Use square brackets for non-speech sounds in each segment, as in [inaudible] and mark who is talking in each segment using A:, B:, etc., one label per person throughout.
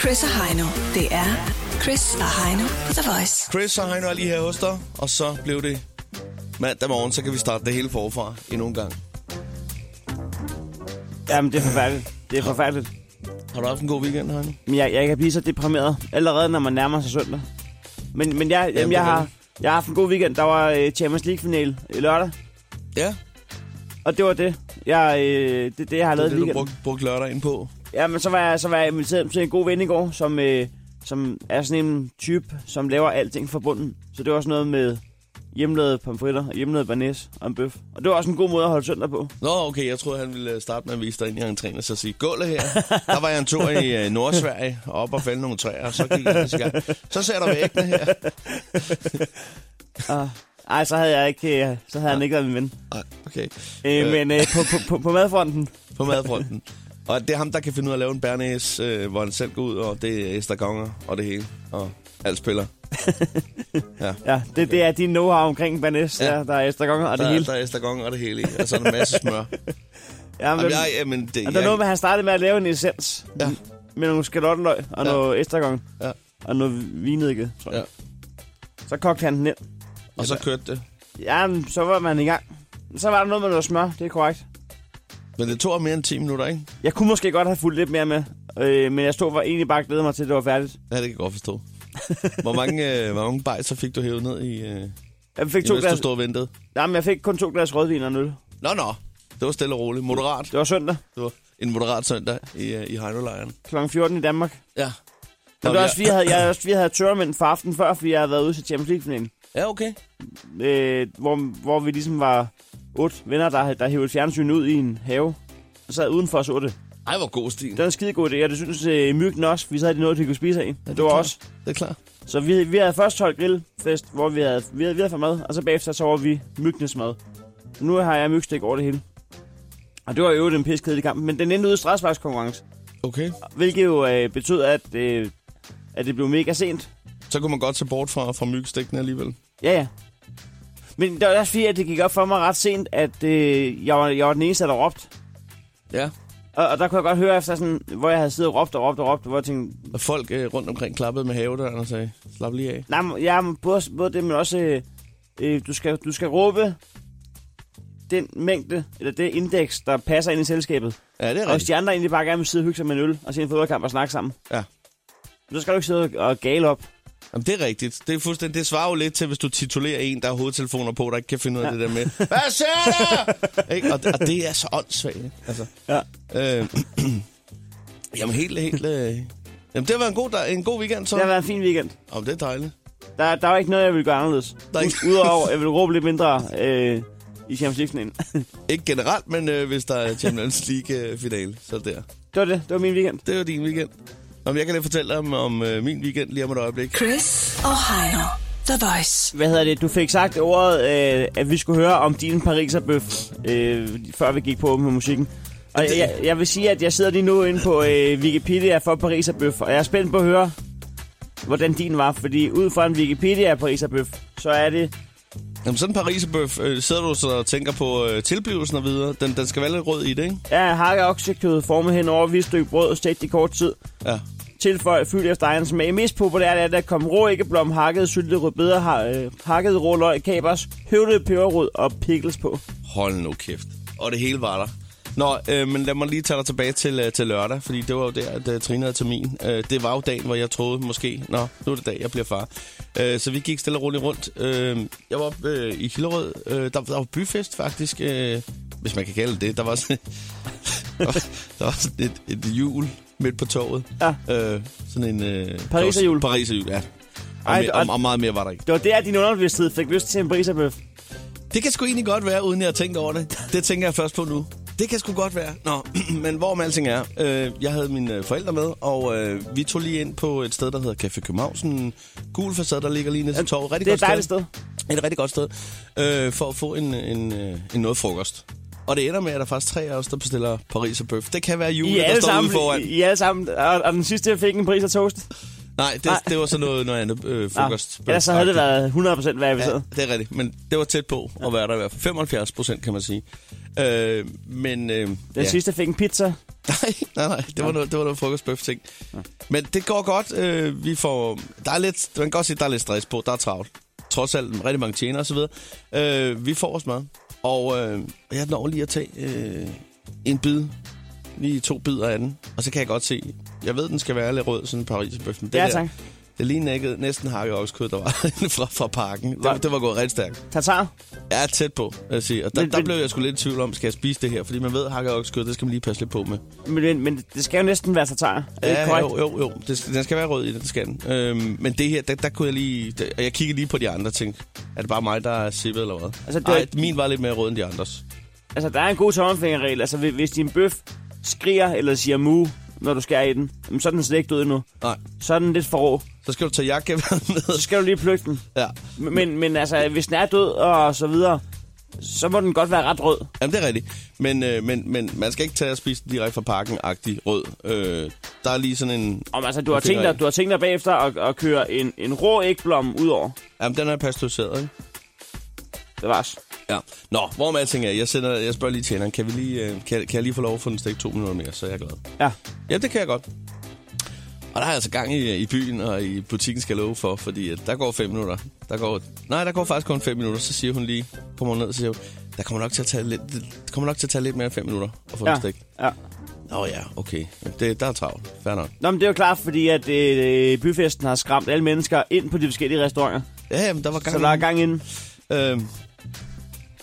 A: Chris og Heino. Det er Chris og Heino på The Voice.
B: Chris og Heino er lige her hos dig, og så blev det mandag morgen, så kan vi starte det hele forfra endnu en gang.
C: Jamen, det er forfærdeligt. Det er forfærdeligt.
B: Har du haft en god weekend, Heino?
C: Men jeg, jeg kan blive så deprimeret, allerede når man nærmer sig søndag. Men, men jeg, jamen,
B: det
C: jeg,
B: kan
C: har,
B: du.
C: jeg har haft en god weekend. Der var øh, Champions League-final i lørdag,
B: Ja,
C: og det var det. Jeg, øh, det er det, jeg har
B: det er
C: lavet
B: det,
C: i
B: du
C: weekenden.
B: brugte, brugte lørdag ind på.
C: Ja, men så var jeg, så var jeg inviteret til en god ven i går, som, øh, som er sådan en type, som laver alting fra bunden. Så det var sådan noget med hjemlavede pomfritter, hjemlavede banæs og en bøf. Og det var også en god måde at holde søndag på.
B: Nå, okay, jeg troede, han ville øh, starte med at vise dig ind i entréen og så sige, gulvet her. Der var jeg en tur i øh, Nordsverige, op og fælde nogle træer, og så gik jeg næste gang. Så ser der væggene her.
C: Og, ej, så havde jeg ikke, øh, så havde han ikke været min ven.
B: Ej, okay.
C: Øh,
B: Øh.
C: men øh, på, på, på, på madfronten,
B: På madfronten. Og det er ham, der kan finde ud af at lave en bærnæs, øh, hvor han selv går ud, og det er estragonger og det hele. Og alt spiller.
C: ja, det, det er din know-how omkring banæs,
B: Ja.
C: ja. der, der er estragonger og det
B: der,
C: hele.
B: Der er estragonger og det hele i, og så er der en masse
C: [laughs]
B: smør.
C: Ja, men,
B: Jamen, jeg, jamen, det,
C: og
B: jeg,
C: der er noget med, at han startede med at lave en essens
B: Ja,
C: med nogle skalottenløg og
B: Ja.
C: noget estragon
B: Ja.
C: og noget vinedike, tror jeg.
B: ja.
C: Så kogte han den ind.
B: Og så kørte det.
C: Ja, men så var man i gang. Så var der noget med noget smør, det er korrekt.
B: Men det tog mere end 10 minutter, ikke?
C: Jeg kunne måske godt have fulgt lidt mere med, øh, men jeg stod for egentlig bare og glædede mig til, at det var færdigt.
B: Ja, det kan jeg godt
C: [laughs]
B: forstå. Hvor mange, øh, hvor mange bajser fik du hævet ned i, øh,
C: Jeg fik,
B: i
C: to
B: mens du
C: glas,
B: stod og ventede?
C: jamen, jeg fik kun to glas rødvin og en øl.
B: Nå, nå. Det var stille og roligt. Moderat.
C: Det var søndag
B: Det var en moderat søndag i, øh, i Heinolejren.
C: kl. 14 i Danmark.
B: Ja.
C: Men det var også, fordi jeg havde, jeg, også, fordi jeg havde tørmænd for aftenen før, fordi jeg havde været ude til Champions League-finalen.
B: Ja, okay.
C: Øh, hvor, hvor vi ligesom var otte venner, der, der hævede fjernsyn ud i en have. Og sad udenfor os otte.
B: Ej, hvor god stil.
C: Det var en skidegod idé, og det synes øh, myggen også, fordi så havde de noget, de kunne spise af. Ja, det, det var
B: klart.
C: også
B: Det er klart.
C: Så vi, vi havde først holdt grillfest, hvor vi havde, vi havde, vi havde fået mad, og så bagefter så var vi myggenes mad. Nu har jeg mygstik over det hele. Og det var jo den piskedelig kamp, men den endte ude i straksvejskonkurrence.
B: Okay.
C: Hvilket jo øh, betød, at, øh, at det blev mega sent.
B: Så kunne man godt se bort fra, fra myggestikkene alligevel.
C: Ja, ja. Men det var også fordi, at det gik op for mig ret sent, at øh, jeg, var, jeg var den eneste, der råbte.
B: Ja.
C: Og, og der kunne jeg godt høre efter sådan, hvor jeg havde siddet og råbt og råbt og råbt, hvor jeg tænkte,
B: Og folk øh, rundt omkring klappede med havedøren og sagde, slap lige af.
C: Nej, men- ja, men både, både det, men også... Øh, øh, du, skal, du skal råbe den mængde, eller det indeks, der passer ind i selskabet.
B: Ja, det er
C: Og hvis
B: rigtigt.
C: de andre egentlig bare gerne vil sidde og hygge sig med en øl, og se en fodboldkamp og snakke sammen,
B: Ja.
C: så skal du ikke sidde og gale op.
B: Jamen, det er rigtigt. Det, er fuldstændig, det svarer jo lidt til, hvis du titulerer en, der har hovedtelefoner på, der ikke kan finde ud af ja. det der med. Hvad siger du? ikke? Og, og, det er så åndssvagt. ikke? Altså,
C: Ja.
B: øh, [clears throat] jamen, helt, helt... Øh, jamen, det var en god, dag, en god weekend, så.
C: Det har
B: Jamen,
C: været en fin weekend.
B: oh, det er dejligt.
C: Der, der var ikke noget, jeg ville gøre anderledes.
B: Der er ikke-
C: Ud- Udover, jeg ville råbe lidt mindre øh, i Champions League-finalen. [laughs]
B: Ikke generelt, men øh, hvis der er Champions League-finale, så der.
C: Det var det. Det var min weekend.
B: Det var din weekend. Nå, men jeg kan lige fortælle dig om, om øh, min weekend lige om et øjeblik.
A: Chris og Heino. The Voice.
C: Hvad hedder det? Du fik sagt ordet, øh, at vi skulle høre om din pariserbøf, øh, før vi gik på med musikken. Og jeg, jeg vil sige, at jeg sidder lige nu inde på øh, Wikipedia for pariserbøf, og jeg er spændt på at høre, hvordan din var. Fordi ud fra en Wikipedia af pariserbøf, så er det...
B: Jamen, sådan en pariserbøf, øh, sidder du så og tænker på øh, tilblivelsen og videre. Den, den skal være lidt rød i det, ikke?
C: Ja, hakke oksekød formet hen over et stykke brød, stegt i kort tid.
B: Ja.
C: Tilføj fyld efter egen smag. Mest populært er det at komme rå æggeblom, hakket syltet rødbeder, ha- øh, hakket rå løg, kapers, høvlet peberrod og pickles på.
B: Hold nu kæft. Og det hele var der. Nå, øh, men lad mig lige tage dig tilbage til, øh, til lørdag, fordi det var jo der, at øh, Trine havde termin. Øh, det var jo dagen, hvor jeg troede måske, nå, nu er det dag, jeg bliver far. Øh, så vi gik stille og roligt rundt. Øh, jeg var oppe øh, i Hillerød. Øh, der, der var byfest faktisk, øh, hvis man kan kalde det det. Der var sådan, [laughs] der var, der var sådan et, et jul midt på toget.
C: Ja.
B: Øh, sådan en... Øh,
C: Pariserhjul.
B: Pariserhjul, ja. Og,
C: Ej,
B: Ej, mere,
C: og-
B: og, og meget mere var der ikke.
C: Det var der, din underbevidsthed fik lyst til en briserbøf.
B: Det kan sgu egentlig godt være, uden jeg har tænkt over det. Det tænker jeg først på nu. Det kan sgu godt være. Nå, [clears throat] men hvor med alting er. Øh, jeg havde mine øh, forældre med, og øh, vi tog lige ind på et sted, der hedder Café København. Sådan en gul facade, der ligger lige nede til torvet. Rigtig
C: Det er et
B: godt
C: dejligt sted.
B: et rigtig godt sted, øh, for at få en, en, øh, en noget frokost. Og det ender med, at der er faktisk tre af os, der bestiller Paris og bøf. Det kan være jule,
C: I
B: der
C: alle
B: står
C: sammen,
B: ude foran.
C: I, I alle sammen. Og, og den sidste, jeg fik en pris af toast.
B: Nej, det,
C: Nej.
B: det var så noget, noget andet øh,
C: Nå,
B: frokost.
C: ellers så havde det været 100%
B: Ja,
C: verificeret.
B: det er rigtigt, men det var tæt på at være der i hvert fald. 75 procent, kan man sige. Øh, men, øh,
C: Den
B: ja.
C: sidste fik en pizza.
B: [laughs] Nej, nej, nej. Det var noget, det var noget frokostbøf-ting. Men det går godt. Øh, vi får... Der er lidt... Man kan godt sige, der er lidt stress på. Der er travlt. Trods alt rigtig mange tjener og så videre. Øh, vi får os mad. Og øh, jeg når lige at tage øh, en bid. Lige to bidder af den. Og så kan jeg godt se... Jeg ved, den skal være lidt rød, sådan en pariserbøf. men den
C: Ja,
B: der-
C: tak.
B: Det lige nækkede, næsten hakket oksekød, der var [laughs] inde fra, fra parken.
C: Var-
B: Det, det, var gået rigtig stærkt.
C: Tatar?
B: Jeg er tæt på, vil jeg sige. Og der,
C: Men-
B: der
C: men-
B: blev jeg sgu lidt i tvivl om, skal jeg spise det her? Fordi man ved, hakket oksekød, det skal man lige passe lidt på med.
C: Men, men, men det skal jo næsten være tatar. Er det ikke
B: Ja,
C: korrekt?
B: jo, jo, jo. Det skal, den skal være rød i den, det skal den. Øhm, men det her, der, der kunne jeg lige... Der, og jeg kiggede lige på de andre ting. Er det bare mig, der er sippet eller hvad?
C: Altså,
B: Altså,
C: det
B: det
C: var
B: Ej,
C: ikke-
B: min var lidt mere rød end de andres.
C: Altså, der er en god tommelfingerregel. Altså, hvis- hvis din bøf skriger eller siger mu, når du skærer i den, jamen, så er den slet ikke død endnu.
B: Nej,
C: Så er den lidt for rå.
B: så skal du tage jakkeværet med.
C: Så skal du lige plukke den.
B: Ja,
C: Men, men altså, hvis den er død og så videre, så må den godt være ret rød.
B: Jamen, det er rigtigt. Men, øh, men, men man skal ikke tage og spise den direkte fra parken-agtig rød. Øh, der er lige sådan en...
C: Om, altså, du har,
B: Okay,
C: tænkt dig,
B: nej.
C: du har tænkt dig bagefter at, at køre en, en rå ægblom ud over.
B: Jamen, den er pasteuriseret, ikke?
C: Det var os.
B: Ja. Nå, hvor med alting er, jeg, sender, jeg spørger lige tjeneren, kan, vi lige, øh, kan, kan jeg lige få lov at få den stik to minutter mere, så er jeg glad.
C: Ja.
B: Ja, det kan jeg godt. Og der er altså gang i, i byen og i butikken, skal jeg love for, fordi at der går fem minutter. Der går, nej, der går faktisk kun fem minutter, så siger hun lige, kommer hun ned, og siger hun, der kommer nok til at tage lidt, det kommer nok til at tage lidt mere end fem minutter at få ja. en
C: Ja.
B: stik.
C: ja.
B: Nå ja, okay. Jamen, Det, der er travlt. Fair nok.
C: Nå, men det er jo klart, fordi at øh, byfesten har skræmt alle mennesker ind på de forskellige restauranter.
B: Ja, jamen, der var gang.
C: Så der er gang inden.
B: Øhm,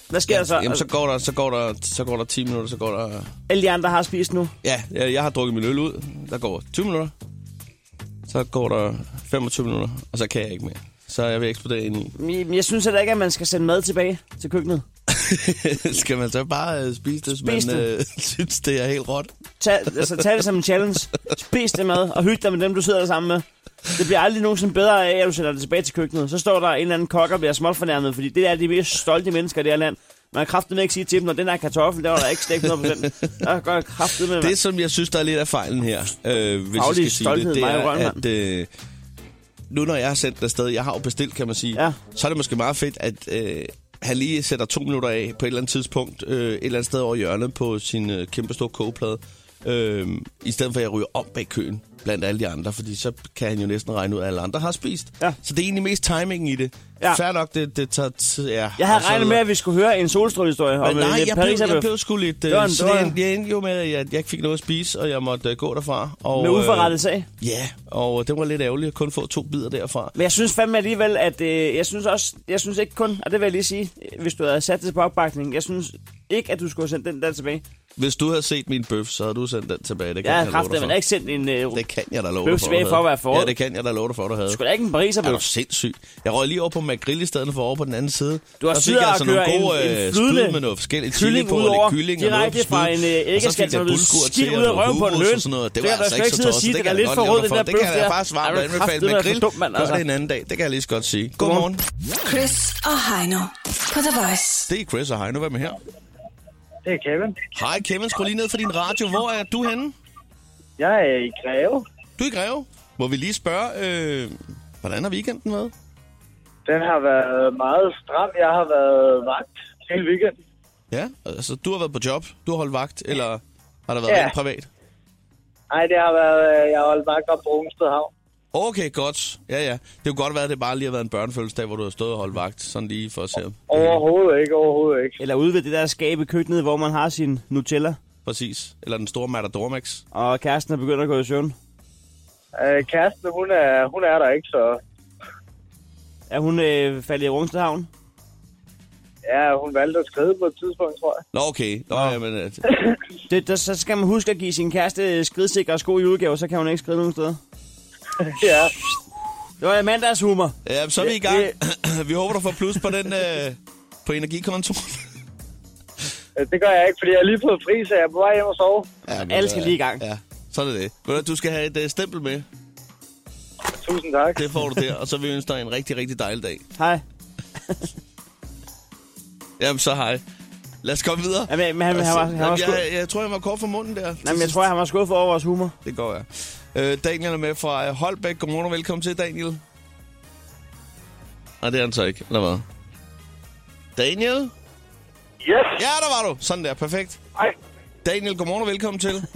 C: Hvad sker der så? Altså,
B: jamen, så går der, så går der, så går der 10 minutter, så går der...
C: Alle de andre har spist nu.
B: Ja, jeg, jeg har drukket min øl ud. Der går 20 minutter. Så går der 25 minutter, og så kan jeg ikke mere. Så er jeg vil eksplodere
C: [laughs]
B: ind i.
C: Jeg, jeg synes heller ikke, at man skal sende mad tilbage til køkkenet.
B: Skal man så bare øh, spise det, hvis
C: Spis
B: man
C: det.
B: øh, [laughs] synes, det er helt råt?
C: Tag, altså, tag det som en challenge. Spis det mad, og hygge dig med dem, du sidder der sammen med. Det bliver aldrig nogensinde bedre af, at du sender det tilbage til køkkenet. Så står der en eller anden kok og bliver småt fornærmet, fordi det er de mest stolte mennesker i det her land. Man kan kraftedeme ikke sige til dem, når den her kartoffel, der var der ikke stegt 100%. Der går jeg kraftedeme med.
B: Det, som jeg synes, der er lidt af fejlen her, øh, hvis
C: Faglig
B: jeg skal sige
C: stolthed,
B: det, det
C: Maja
B: er,
C: Rønholm.
B: at øh, nu når jeg har sendt det afsted, jeg har jo bestilt, kan man sige,
C: Ja.
B: så er det måske meget fedt, at øh, han lige sætter to minutter af på et eller andet tidspunkt, øh, et eller andet sted over hjørnet på sin øh, kæmpe store kogeplade, øh, i stedet for at jeg ryger om bag køen blandt alle de andre, fordi så kan han jo næsten regne ud, at alle andre har spist.
C: Ja.
B: Så det er egentlig mest timingen i det.
C: Ja.
B: Ja. Færdig nok, det, det tager tid. Ja,
C: Jeg
B: og
C: havde
B: så
C: regnet med,
B: videre.
C: at vi skulle høre en solstrålehistorie om øh,
B: Men
C: en
B: nej, jeg blev, jeg
C: pariserbøf
B: blev sgu lidt...
C: Det var
B: Øh,
C: en-
B: så
C: det var
B: det
C: en-
B: endte, jeg endte jo med, at jeg, jeg ikke fik noget at spise, og jeg måtte øh, gå derfra. Og,
C: med uforrettet sag.
B: Øh, ja, og det var lidt ærgerligt at kun få to bidder derfra.
C: Men jeg synes fandme alligevel, at øh, jeg synes også, jeg synes ikke kun, og det vil jeg lige sige, øh, hvis du havde sat det på opbakning, jeg synes ikke, at du skulle have sendt den der tilbage.
B: Hvis du havde set min bøf, så havde du sendt den tilbage. Det kan
C: Jeg
B: jeg, love
C: har
B: dig
C: kraftet, men
B: for.
C: ikke sendt en... Øh,
B: Det kan jeg da love
C: Bøf
B: dig for, du
C: tilbage for at
B: havde.
C: være forret.
B: Ja, det kan jeg da love dig for, du havde.
C: Skulle da ikke en pariser,
B: Er du sindssyg? Jeg røg lige over på McGrilli-stedet for over på den anden side.
C: Du har
B: Der fik
C: siddet
B: jeg altså
C: og
B: nogle
C: kørt en-
B: gode,
C: en
B: øh,
C: flydende
B: spyd med noget forskelligt
C: kylling
B: chili på,
C: ud
B: og lidt
C: over,
B: kylling og noget
C: direkte fra en, øh,
B: Og så
C: æggeskal,
B: fik
C: som
B: jeg
C: er blevet
B: bulgur
C: skidt
B: til
C: ud af
B: og noget
C: røven på en
B: hummus
C: løn.
B: og sådan noget. Det
C: Det
B: var
C: kan du
B: altså
C: da
B: ikke
C: ikke
B: så
C: sidde og
B: tosset.
C: sige,
B: Det
C: den
B: kan
C: er
B: jeg
C: lidt
B: godt
C: for
B: love
C: rød,
B: dig
C: den
B: for.
C: der
B: Det kan jeg
C: bøf
B: da
C: der.
B: faktisk varmt
C: Er du
B: anbefale.
C: kraftedeme for
B: McGrill,
C: dum, mand,
B: gør
C: altså.
B: det en anden dag. Det kan jeg lige så godt sige.
C: Godmorgen.
B: Godmorgen.
A: Chris og Heino på The Voice.
B: Det er Chris og Heino. Hvem er her?
D: Det er Kevin.
B: Hej Kevin, skru lige ned for din radio. Hvor er du henne?
D: Jeg er i Greve.
B: Du er i Greve. Må vi lige spørge, øh, hvordan har weekenden været?
D: Den har været meget stram. Jeg har været vagt hele weekenden.
B: Ja, altså du har været på job, du har holdt vagt, eller har der været
D: Ja.
B: rent privat?
D: Nej, det har været, øh, jeg har holdt vagt op på Rungsted Havn.
B: Okay, godt. Ja, ja. Det kunne godt være, at det bare lige har været en børnefødselsdag, hvor du har stået og holdt vagt, sådan lige for at se.
D: Overhovedet ikke, overhovedet ikke.
C: Eller ude ved det der skab i køkkenet, hvor man har sin Nutella,
B: Præcis. Eller den store Matador Max.
C: og kæresten er begyndt at gå i søvn.
D: Øh, kæresten, hun er, hun er der ikke, så
C: Er hun øh, faldet i Rungstedhavn?
D: ja, hun valgte at skride på et tidspunkt, tror jeg. [laughs]
B: Nå, okay. Nå, ja. men, øh,
C: Det, der, så skal man huske at give sin kæreste øh, skridsikre sko i udgave, så kan hun ikke skride nogen steder.
D: Ja,
C: Det var mandagshumor.
B: ja, så er vi i gang. [clears throat] vi håber, du får plus på den øh, på energikontoen.
D: øh, det gør jeg ikke, fordi jeg har lige fået fri, så jeg er på vej hjem og sove.
B: Ja, men,
C: Alle skal
B: øh,
C: lige i gang.
B: Ja, så er det det. Ved du, Du skal have et øh, stempel med.
D: Tusind tak.
B: Det får du der, og så vil vi ønske dig en rigtig, rigtig dejlig dag.
C: Hej.
B: Jamen, så hej. Lad os komme videre.
C: Jamen, men han, han, var, han, var,
B: Jamen,
C: sku...
B: Altså, jeg, jeg tror, jeg var kort for munden der.
C: Jamen, jeg tror, han var skuffet over vores humor.
B: Det går jeg. Øh, Daniel er med fra øh, Holbæk. Godmorgen og velkommen til, Daniel. Nej, det er han så ikke, eller hvad? Daniel?
D: Yes!
B: Ja, der var du. Sådan der, perfekt.
D: Hej.
B: Daniel, godmorgen og velkommen til.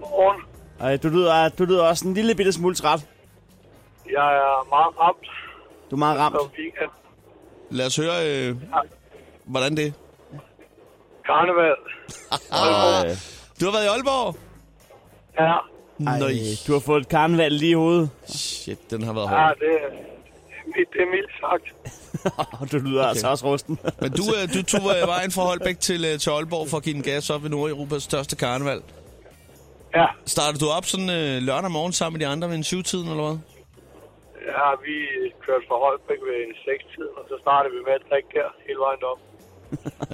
E: godmorgen.
C: Og du lyder, du lyder også en lille bitte smule træt.
E: Jeg er meget ramt
C: Du er meget ramt.
E: om weekend.
B: Lad os høre, øh, hvordan det
E: Karneval.
C: Øh,
B: Ah, Du har været i Aalborg?
E: Ja,
C: Ej,
B: Nøj.
C: du har fået et karneval lige i hovedet.
B: Shit, den har været
E: ja
B: hård.
E: det, er, det er mildt sagt.
C: Og du lyder okay. altså også rusten. [laughs]
B: Men du, øh, du tog øh, vejen fra Holbæk til, øh, til Aalborg for at give den gas op ved Nordeuropas største karneval.
E: Ja,
B: Startede du op sådan øh, lørdag morgen sammen med de andre ved en syvtiden, eller hvad?
E: ja vi kørte fra Holbæk ved en 6-tid, og så startede vi med at drikke her hele vejen op.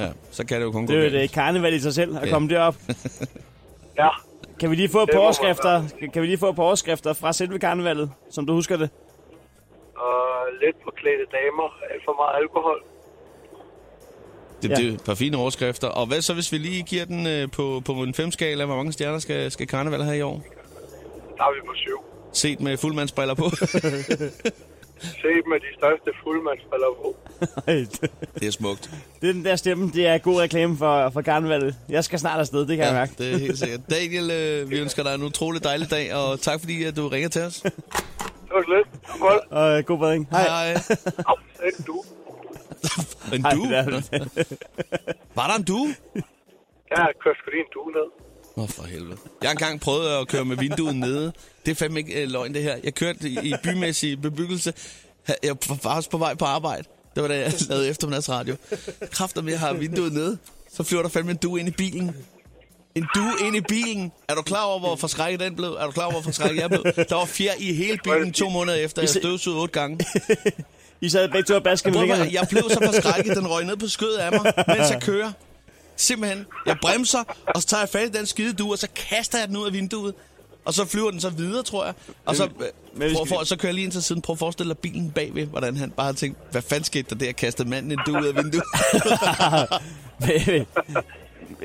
B: Ja, så kan det jo kun
C: Det er jo
B: gå
C: et øh,
B: galt.
C: karneval i sig selv at
B: Ja.
C: komme derop.
E: Ja,
C: Kan vi lige få
E: Det må man
C: påskrifter? Kan vi lige få påskrifter fra selve karnevalet, som du husker det? [laughs]
E: og lidt forklædte damer, alt for meget alkohol.
B: Det, det er et par fine overskrifter. Og hvad så, hvis vi lige giver den øh, på, på en femskala? Hvor mange stjerner skal, skal karneval have i år?
E: Der er vi på syv.
B: Set med fuldmandsbriller på.
E: Se med de største fuldmandsbriller på.
B: det er smukt.
C: [laughs] det er den der stemme, det er god reklame for, for karnevalet. Jeg skal snart afsted, det kan jeg mærke.
B: det er helt sikkert. Daniel, øh, vi ønsker dig en utrolig dejlig dag, og tak fordi at du ringer til os.
E: Det var lidt. Godt.
C: Og øh, god bedring. Hej. [laughs]
B: Hej.
E: Au, sæt du.
B: En
C: Hej,
B: du?
C: det er det.
B: Var der en du?
E: Ja, jeg kørte sgu lige en due ned.
B: Åh, oh, for helvede. Jeg har engang prøvet at køre med vinduet nede. Det er fandme ikke øh, løgn, det her. Jeg kørte i, i bymæssig bebyggelse. Ha- Jeg var faktisk på vej på arbejde. Det var da jeg lavede eftermiddagsradio. Kræfter med, jeg har vinduet nede. Så flyver der fandme en du ind i bilen. En du ind i bilen. Er du klar over, hvor forskrækket den blev? Er du klar over, hvor forskrækket jeg blev? Der var fjer i hele bilen to måneder efter. Jeg støvsugede otte gange.
C: I sad begge to og baskede med
B: Prøv at-
C: fingrene.
B: jeg blev så forskrækket, den røg ned på skødet af mig, mens jeg kører. Simpelthen. Jeg bremser, og så tager jeg fat i den skide du, og så kaster jeg den ud af vinduet. Og så flyver den så videre, tror jeg. Og så,
C: men vi
B: prøv,
C: skal
B: for,
C: lige-
B: så kører jeg lige ind til siden. Prøv at forestille dig bilen bagved, hvordan han bare har tænkt, hvad fanden skete der der? Jeg kastede manden en du ud af vinduet. [laughs]
C: [laughs]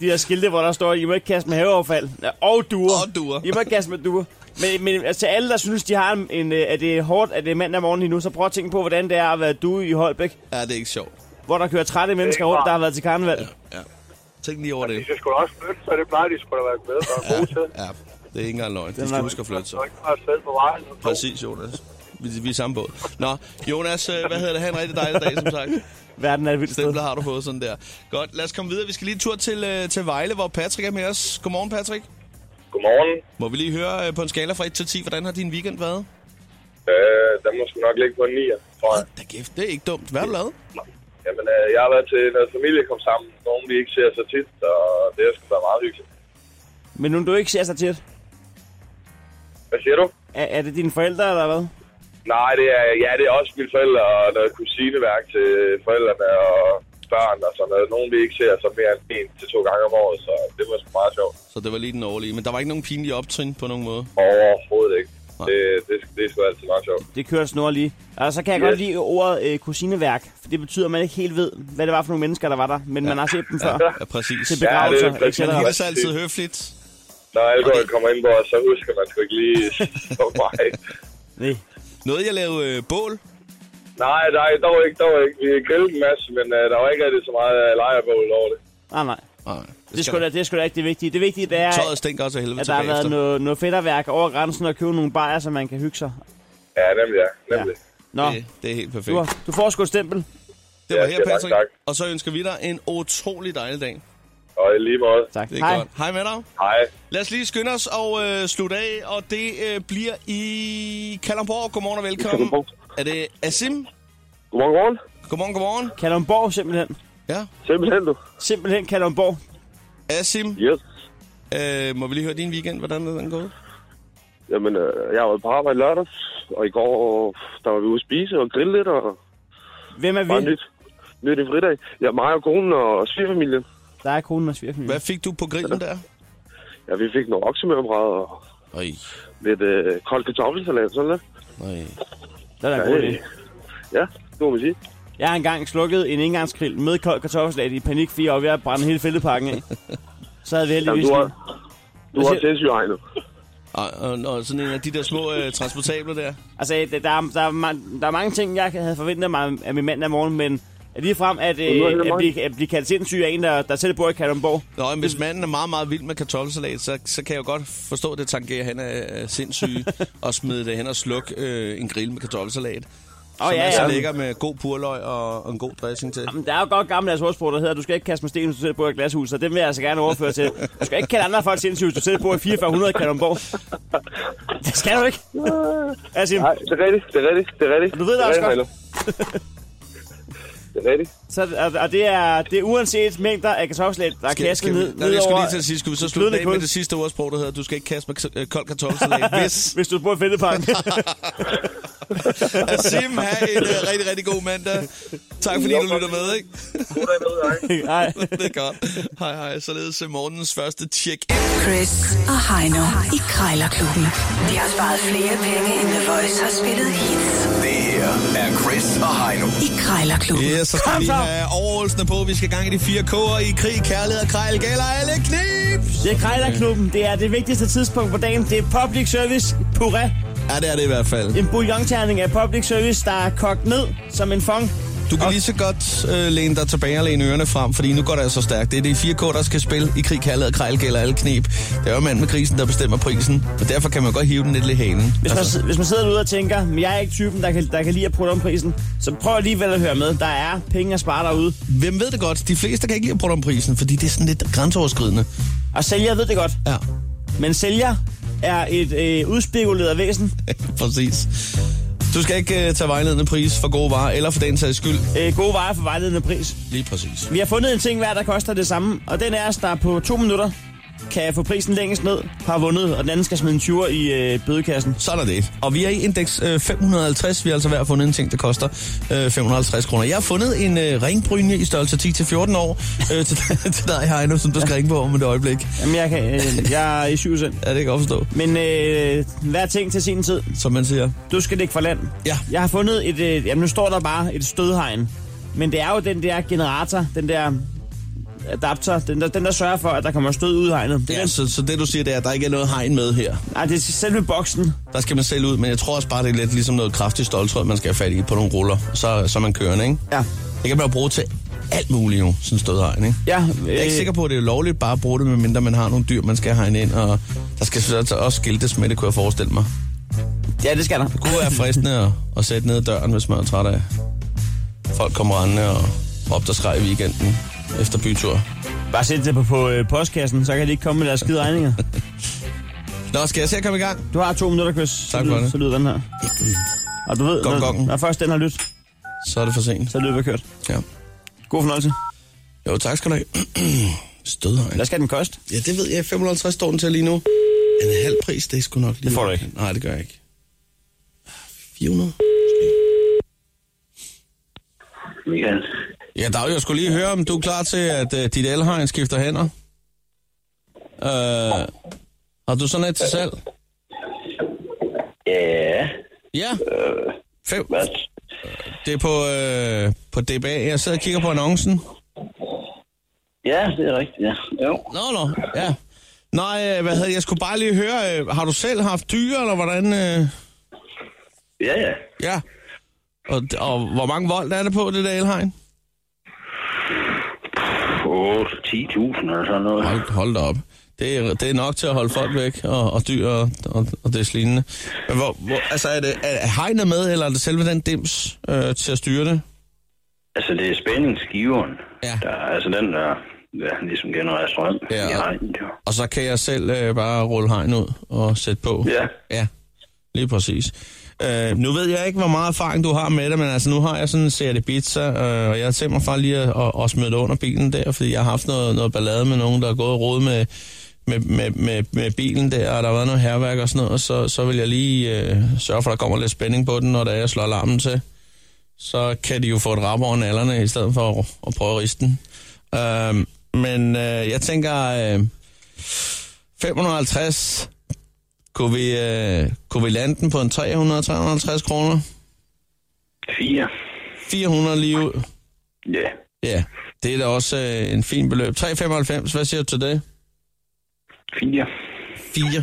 C: De der skilte, hvor der står, I må ikke kaste med haveaffald. Ja, Og duer.
B: Og duer.
C: I må ikke kaste med duer. Men, men altså, alle, der synes, de har en, en, øh, at det er hårdt, at det er mandag morgen lige nu, så prøv at tænke på, hvordan det er at være due i Holbæk,
B: ja, det er ikke sjovt.
C: hvor der kører trætte mennesker rundt, der har været til karneval.
B: Ja. Tænk lige over
E: De
B: det.
E: skal sgu da også flytte, så det plejer de sgu da være bedre og
B: Ja,
E: gode til.
B: ja. Det er ikke engang løgn. De
C: var-
B: skal huske at flytte
E: Så
B: sig.
E: er ikke bare afsted på vejen. og to.
B: Præcis, Jonas. Vi, vi er i samme båd. Nå, Jonas, øh, hvad hedder det? Ha' en rigtig dejlig dag, som sagt.
C: Verden er et vildt sted.
B: Stempler har du fået sådan der. Godt, lad os komme videre. Vi skal lige en tur til, øh, til Vejle, hvor Patrick er med os. Godmorgen, Patrick.
F: Godmorgen.
B: Må vi lige høre øh, på en skala fra 1 til 10, hvordan har din weekend været?
F: Øh, der må sgu nok ligge på en 9, tror jeg.
B: Da kæft, det er ikke dumt. Hvad har du lavet?
F: Jamen, øh, jeg har været til noget familie kom sammen. Nogen, vi ikke ser så tit, og det har sgu været meget hyggeligt.
C: Men nu du ikke ser så tit,
F: Hvad siger du?
C: er, er det dine forældre eller hvad?
F: Nej, det er, ja, det er også mine forældre og noget kusineværk til forældrene og børn og sådan noget. Nogen, vi ikke ser så mere end en til to gange om året, så det var sgu meget sjovt.
B: Så det var lige den årlige, men der var ikke nogen pinlige optrin på nogen måde.
F: Overhovedet ikke.
B: Nej.
F: Det, det, det er sgu altid meget sjovt.
C: Det kører snor lige. Og så kan jeg
F: Yes.
C: godt lide ordet øh, kusineværk, for det betyder, at man ikke helt ved, hvad det var for nogle mennesker, der var der, men man har set dem før.
B: Ja, præcis.
C: Til
F: Ja,
C: begravelser,
F: det er præcis.
B: Man
C: etc.
B: hilder sig altid høfligt.
F: Når alkohol kommer ind på os, så husker man sgu ikke lige så meget.
C: Nej.
B: Noget, jeg lavede øh, bål.
F: Nej, nej, dog ikke, dog ikke. Vi grillede en masse, men uh, der var ikke rigtig så meget uh, lejrebål over det.
C: Nej, nej.
B: Nej,
C: Det er sgu da, det er sgu da ikke det vigtige. Det vigtige det er,
B: Tøjet stinker også af helvede
C: at der har
B: tilbage
C: været
B: efter.
C: noget, noget fedterværk over grænsen og købe nogle bajer, så man kan hygge sig.
F: Ja, nemlig, ja. Nemlig.
C: Nå,
B: Det, det er helt perfekt.
C: du, har- du får sgu et stempel.
B: Det var
F: Ja,
B: her,
F: ja, tak,
B: Patrick.
F: tak.
B: Og så ønsker vi dig en utrolig dejlig dag.
F: Og i lige måde.
C: Tak.
B: Det er
C: Hej.
B: godt. Hej med dig.
F: Hej.
B: Lad os lige skynde os og øh, slutte af, og det øh, bliver i Kalamborg. Godmorgen og velkommen.
F: Kalundborg.
B: Er det Asim?
F: Godmorgen, godmorgen.
B: Godmorgen, godmorgen.
C: Kalundborg simpelthen.
B: Ja.
F: Simpelthen du.
C: Simpelthen Kalundborg.
B: Asim,
F: Yes.
B: øh, må vi lige høre din weekend? Hvordan er den gået?
F: Jamen, øh, jeg har været på arbejde lørdags, og i går, der var vi ude at spise og grille lidt, og
C: Hvem er
F: bare
C: vi?
F: nyt. Nyt en fridag. Ja, mig og konen og svigerfamilien.
C: Der er konen og svigerfamilien.
B: Hvad fik du på grillen der?
F: Ja, vi fik noget oksemørbrad og
B: Øj,
F: lidt øh, kold kartoffelsalat, sådan lidt.
B: nej.
C: Det er da en god idé.
F: Ja, det må man sige.
C: Jeg har engang slukket en engangsgrill med kold kartoffelsalat i panik, fordi jeg var ved at brænde hele fældepakken af. Så havde vi
F: Jamen,
C: heldigvis...
F: du har,
C: lige-
F: du
C: Hvad
F: har
C: siger-
F: sindssygt egnet.
B: Og, og, og sådan en af de der små øh, transportabler der.
C: Altså, det- der er, der, er, ma- der er mange ting, jeg havde forventet mig af min mandag morgen, men lige frem at,
E: nu er
C: øh,
E: det
C: at,
E: mig.
C: blive, at blive kaldt sindssyg af en, der, der selv bor i Kalundborg.
B: Nå, men hvis manden er meget, meget vild med kartoffelsalat, så, så kan jeg jo godt forstå, at det tangerer, at han er øh,
C: [laughs]
B: sindssyg og smide det hen og slukke øh, en grill med kartoffelsalat.
C: Åh,
B: som
C: ja,
B: er så
C: ja.
B: lækker med god purløg og, og en god dressing til.
C: Jamen, der er jo godt gammel ordsprog, der hedder, du skal ikke kaste med sten, hvis du selv bor i et glashus, så den vil jeg altså gerne overføre til. Du skal ikke kalde andre folk sindssyge, hvis du selv bor i 4400 i
E: [laughs]
C: Kalundborg. Det skal du ikke. Altså,
E: Nej, det er rigtigt, det er rigtigt, det er rigtigt.
C: Du ved det også
E: er
C: godt.
E: rigtigt, Milo. det er rigtigt.
C: så, og, og det, er, det er uanset mængder af kartoffelsalat, der er
B: Skal,
C: kastet
B: skal vi,
C: ned,
B: nej, jeg
C: ned
B: skulle lige
C: over,
B: til at sige, skal vi så slutte
C: glødende
B: af med
C: kul?
B: det sidste ordsprog, der hedder, du skal ikke kaste med øh, kold [laughs] kartoffelsalat, hvis...
C: hvis du bor i
B: [laughs]
C: Fældeparken.
B: Asim, have en øh, rigtig, rigtig god mandag. Tak fordi du lytter med, ikke?
C: Nej.
B: Det er godt. Hej, hej. Således øh, morgens første tjek
A: Chris og Heino i Krejlerklubben. De har sparet flere penge, end The Voice har spillet hits
G: Det her er Chris og Heino.
A: i Krejlerklubben.
B: Ja, så skal vi lige have overholdsene på. Vi skal i gang i de fire K'er i krig, kærlighed og krejl. Gælder alle knips!
C: Det er Krejlerklubben. Det er det vigtigste tidspunkt på dagen. Det er public service. Pura.
B: Ja, det er det i hvert fald.
C: En bouillonterning af public service, der er kogt ned som en fong.
B: Du kan lige så godt øh, læne dig tilbage og læne ørerne frem, fordi nu går det altså stærkt. Det er de fire K'er, der skal spille i krig, kærlighed og krejl. Gælder alle knep. Det er jo mand med krisen, der bestemmer prisen, og derfor kan man godt hive den lidt i halen. Altså,
C: Hvis man, hvis man sidder derude og tænker, men jeg er ikke typen, der kan, der kan lide at prutte om prisen, så prøv alligevel at høre med. Der er penge at spare derude.
B: Hvem ved det godt? De fleste kan ikke lide at bruge om prisen, fordi det er sådan lidt grænseoverskridende.
C: Og sælger ved det godt,
B: Ja,
C: men sælger er et øh, udspekuleret væsen.
B: [laughs] præcis. Du skal ikke øh, tage vejledende pris for gode varer, eller for den sags skyld.
C: Øh, gode veje for vejledende pris.
B: Lige præcis.
C: Vi har fundet en ting hver, der koster det samme, og den er, der på to minutter kan få prisen længst ned, har vundet, og den anden skal smide en 20'er i øh, bødekassen.
B: Sådan er det. Og vi er i indeks øh, 550. Vi har altså hver fundet en ting, der koster øh, 550 kroner. Jeg har fundet en øh, ringbrynje i størrelse 10-14 år øh, [laughs] til, til dig, Heino, som du skal ringe på om et øjeblik.
C: Jamen, jeg, kan, øh, jeg er i 7 cent.
B: Er det ikke opstå,
C: Men øh, hver ting til sin tid.
B: som man siger?
C: Du skal ligge for land.
B: Ja.
C: Jeg har fundet et... Øh, jamen, nu står der bare et stødhegn. Men det er jo den der generator, den der adapter, den der, den der sørger for, at der kommer stød ud i hegnet. Det er
B: Ja,
C: den,
B: så, så det du siger, det er, at der ikke er noget hegn med her.
C: nej, det er selve boksen.
B: Der skal man selv ud, men jeg tror også bare, det er lidt ligesom noget kraftigt stoltråd, man skal have fat i på nogle ruller. Så, så er man kørende, ikke?
C: Ja.
B: Det kan man jo bruge til alt muligt nu, sådan stød hegn, ikke?
C: Ja,
B: Jeg er
C: øh,
B: ikke sikker på, at det er lovligt bare at bruge det, medmindre man har nogle dyr, man skal hegne ind, og der skal selvfølgelig også skiltes med det, kunne jeg forestille mig.
C: Ja, det skal der.
B: Det kunne være fristende at, at sætte ned ad døren, hvis man er træt af. Folk kommer rendende og op der skreg i weekenden efter bytur.
C: Bare sæt det på, på øh, postkassen, så kan de ikke komme med deres skide regninger.
B: Nå, skal jeg se at komme i gang?
C: Du har to minutter, Chris. Så
B: Tak for
C: lyder-
B: det.
C: Så lyder den her. Og du ved,
B: Gong,
C: når,
B: gongen.
C: når først den har lyttet,
B: Så er det for sent.
C: så er løbet kørt.
B: Ja.
C: God fornøjelse.
B: Jo, tak skal du have. [clears throat] Stødhegn.
C: Hvad skal den koste?
B: Ja, det ved jeg. 550 står den til lige nu. En halv pris, det er sgu nok lige.
C: Det får du ikke.
B: Nej, det gør jeg ikke. 400.
D: Michael.
B: Ja, Dag, jeg skulle lige høre, om du er klar til, at uh, dit elhegn skifter hænder. Uh, har du sådan et til salg?
D: Ja,
B: Ja. Fem.
D: hvad?
B: Det er på, øh, på DBA. Jeg sidder og kigger på annoncen.
D: Ja, det er rigtigt, ja. Jo.
B: Nå, nå, ja. Nej, øh, hvad hedder, det? jeg skulle bare lige høre, øh, har du selv haft dyr, eller hvordan? Øh,
D: Ja, ja.
B: ja. Og, og hvor mange volt er det på, det der elhegn?
D: På 10.000 eller sådan noget.
B: Hold, hold da op. Det er, det er nok til at holde folk væk, og, og dyr og, og, og det lignende. Men hvor, hvor, altså, er det er er hegnet med, eller er det selve den dims øh, til at styre det?
D: Altså, det er spændingsgiveren.
B: Ja.
D: Der, er altså, den der ja, ligesom genererer strøm
B: Ja.
D: i regnen, jo.
B: Og så kan jeg selv øh, bare rulle hegn ud og sætte på.
D: Ja.
B: Ja, lige præcis. Øh, nu ved jeg ikke, hvor meget erfaring du har med det, men altså nu har jeg sådan en serie pizza, øh, og jeg tænker mig faktisk lige at, at, at smide det under bilen der, fordi jeg har haft noget, noget ballade med nogen, der er gået og rodet med, med, med, med, med bilen der, og der har været noget herværk og sådan noget, og så, så vil jeg lige øh, sørge for, at der kommer lidt spænding på den, når der jeg slår alarmen til. Så kan de jo få et rap over nallerne, i stedet for at, at prøve at riste den. Øh, men øh, jeg tænker, øh, 550 kunne vi, øh, kunne vi lande den på en 300-350 kroner?
D: 4.
B: 400 lige ud.
D: Ja.
B: Ja, det er da også øh, en fin beløb. 395, hvad siger du til det?
D: 4.
B: 4.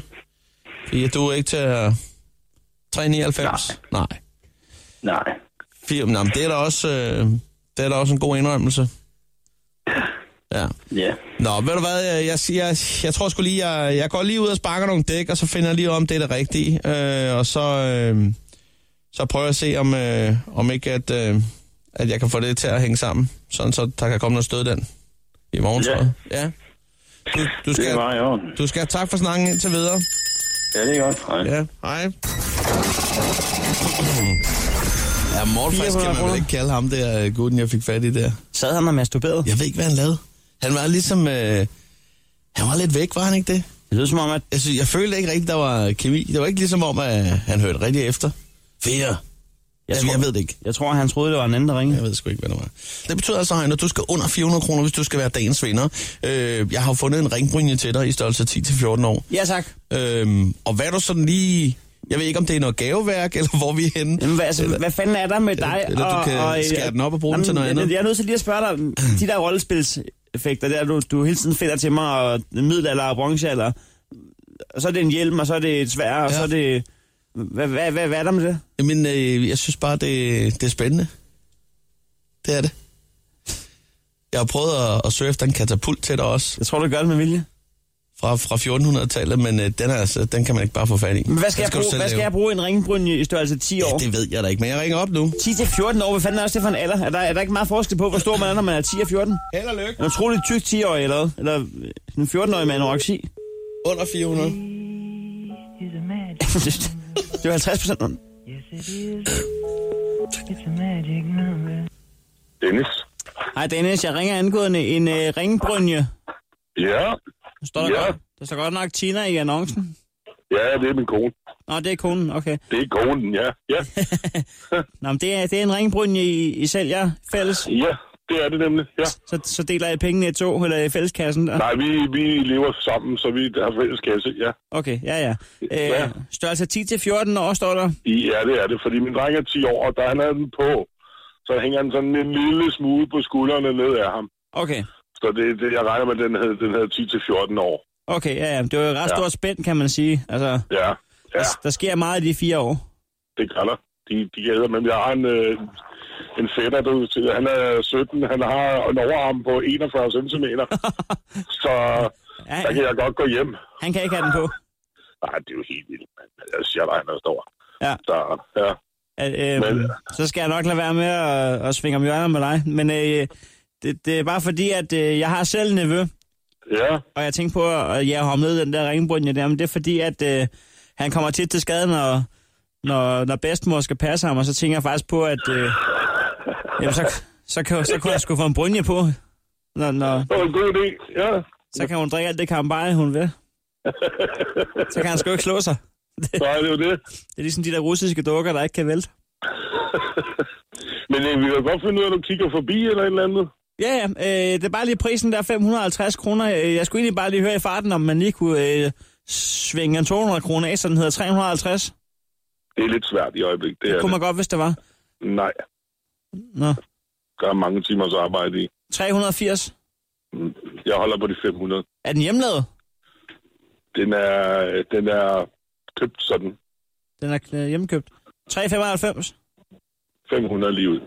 B: 4, du er ikke til øh, 399? Nej. Nej.
D: Nej.
B: 4, nej, men det er da også... Øh, Det er da også en god indrømmelse. Ja.
D: Ja.
B: Nå, ved du hvad, jeg, jeg, jeg, jeg tror sgu lige, jeg, jeg går lige ud og sparker nogle dæk, og så finder jeg lige ud af, om det er det rigtige. Øh, og så, øh, så prøver jeg at se, om, øh, om ikke at, øh, at jeg kan få det til at hænge sammen. Sådan så der kan komme noget stød i den i morgen,
D: Ja.
B: tror jeg. Ja. Du, du,
D: Det
B: skal,
D: er bare i orden.
B: du skal have tak for snakken indtil videre.
D: Ja, det er godt. Hej.
B: Ja, hej. Ja, Mortfast
C: 400
B: kan man
C: kroner.
B: vel ikke kalde ham der øh, gutten, jeg fik fat i der.
C: Sad han og masturberede?
B: Jeg ved ikke, hvad han lavede. Han var ligesom... Øh, han var lidt væk, var han ikke det?
C: Det lyder som om, at
B: Jeg, synes, jeg følte ikke rigtigt, der var kemi. Det var ikke ligesom om, at han hørte rigtig efter. Fire. Jeg,
C: tror-
B: jeg ved det ikke.
C: jeg tror, han troede, det var en anden, der ringede.
B: Jeg ved sgu ikke, hvad det var. Det betyder altså, Heino, at du skal under 400 kroner, hvis du skal være dagens vinder. Øh, jeg har jo fundet en ringbrynje til dig i størrelse 10-14 år.
C: Ja, tak.
B: Øhm, og hvad er du sådan lige... Jeg ved ikke, om det er noget gaveværk, [laughs] eller hvor vi er henne.
C: Jamen, hvad, altså,
B: Eller-
C: hvad fanden er der med dig?
B: eller du
C: og,
B: kan
C: og,
B: skære den op og bruge den til noget
C: jeg-
B: andet.
C: Jeg er nødt til lige at spørge dig, de der rollespilseffekter, der du, du hele tiden finder til mig, og middelalder og bronzealder, og så er det en hjelm, og så er det et svær, og
B: Ja.
C: så er det... Hvad, hvad, hvad, hvad er der med det?
B: Men øh, jeg synes bare, det, det er spændende. Det er det. Jeg har prøvet at, at søge efter en katapult til dig også,
C: Jeg tror, du gør det med vilje.
B: fra, fra 1400-tallet, men øh, den, er, altså, den kan man ikke bare få fat i.
C: Men hvad skal,
B: Den
C: jeg,
B: du
C: bruge,
B: selv
C: hvad skal
B: lave.
C: jeg bruge en ringbrynje i størrelse 10 år?
B: Ja, det ved jeg da ikke, men jeg ringer op nu.
C: 10-14 år, hvad fanden er også det for en alder? Er der, er der ikke meget forskel på, hvor stor man er, når man er 10 og 14?
B: Held og lykke.
C: En utrolig tyk 10-årig eller hvad? Eller en 14-årig med anoreksi?
B: Under 400.
C: [laughs] det er jo 50 procent.
F: Dennis?
C: Hej Dennis, jeg ringer angående en øh, ringbrynje.
F: Ja?
C: Der står, der,
F: Ja.
C: godt, der står godt nok Tina i annoncen.
F: Ja, det er min kone.
C: Nå, det er konen, okay.
F: Det er konen, ja. Ja,
C: Nå, men det er, det er en ringbrynje, I, I sælger fælles.
F: ja det er det nemlig, [laughs] ja.
C: Så, så deler I pengene i to, eller i fælleskassen. Der.
F: Nej, vi, vi lever sammen, så vi har fælles kasse, ja.
C: Okay, ja, ja.
F: Ja.
C: Øh, størrelse 10-14 år står der.
F: Ja, det er det, fordi min dreng er 10 år, og der han havde den på, så hænger han sådan en lille smule på skuldrene ned af ham.
C: Okay,
F: Så det, det jeg regner med, at den havde, den havde 10-14 år.
C: okay, ja, ja. Det var jo et ret
F: Ja.
C: stort spænd, kan man sige. Altså,
F: Ja,
C: der,
F: ja,
C: der sker meget i de fire år.
F: det gør der. De, de gælder, men jeg har en, øh, en fætter, der, han er 17, han har en overarm på 41 cm. så
C: Ja,
F: der kan jeg godt gå hjem.
C: han kan ikke have den på.
F: Nej, det er jo helt vildt, mand. Jeg siger dig, han er stor.
C: Ja.
F: Så, ja.
C: At, øh,
F: Men-
C: så skal jeg nok lade være med at, at svinge om hjørner med dig. Men øh, det, det er bare fordi, at øh, jeg har selv en nevø,
F: Ja,
C: og jeg tænkte på, at jeg har med den der ringbrynje der, men det er fordi, at øh, han kommer tit til skade, når, når, når bedstemor skal passe ham, og så tænker jeg faktisk på, at øh, jamen, så, så, kan, så kunne jeg sgu få en brynje på, når, når,
F: det var en god idé. Ja,
C: så kan hun drikke alt det karambaje, hun vil. Så kan han sgu ikke slå sig.
F: så er det jo det.
C: Det er ligesom de der russiske dukker, der ikke kan vælte.
F: Men øh, vi kan godt finde ud af, om du kigger forbi eller et eller andet.
C: Ja, ja. Øh, det er bare lige prisen der, 550 kroner. Øh, Jeg skulle egentlig bare lige høre i farten, om man lige kunne øh, svinge en 200 kroner af, så den hedder 350.
F: Det er lidt svært i øjeblikket. Det
C: Det
F: er
C: kunne
F: det.
C: man godt, hvis det var.
F: Nej,
C: Nå.
F: der er mange timers arbejde i.
C: 380.
F: Mm. Jeg holder på de 500.
C: Er den hjemlavet?
F: Den er, den er købt sådan
C: Den er øh, hjemkøbt. 395.
F: 500 lige ud.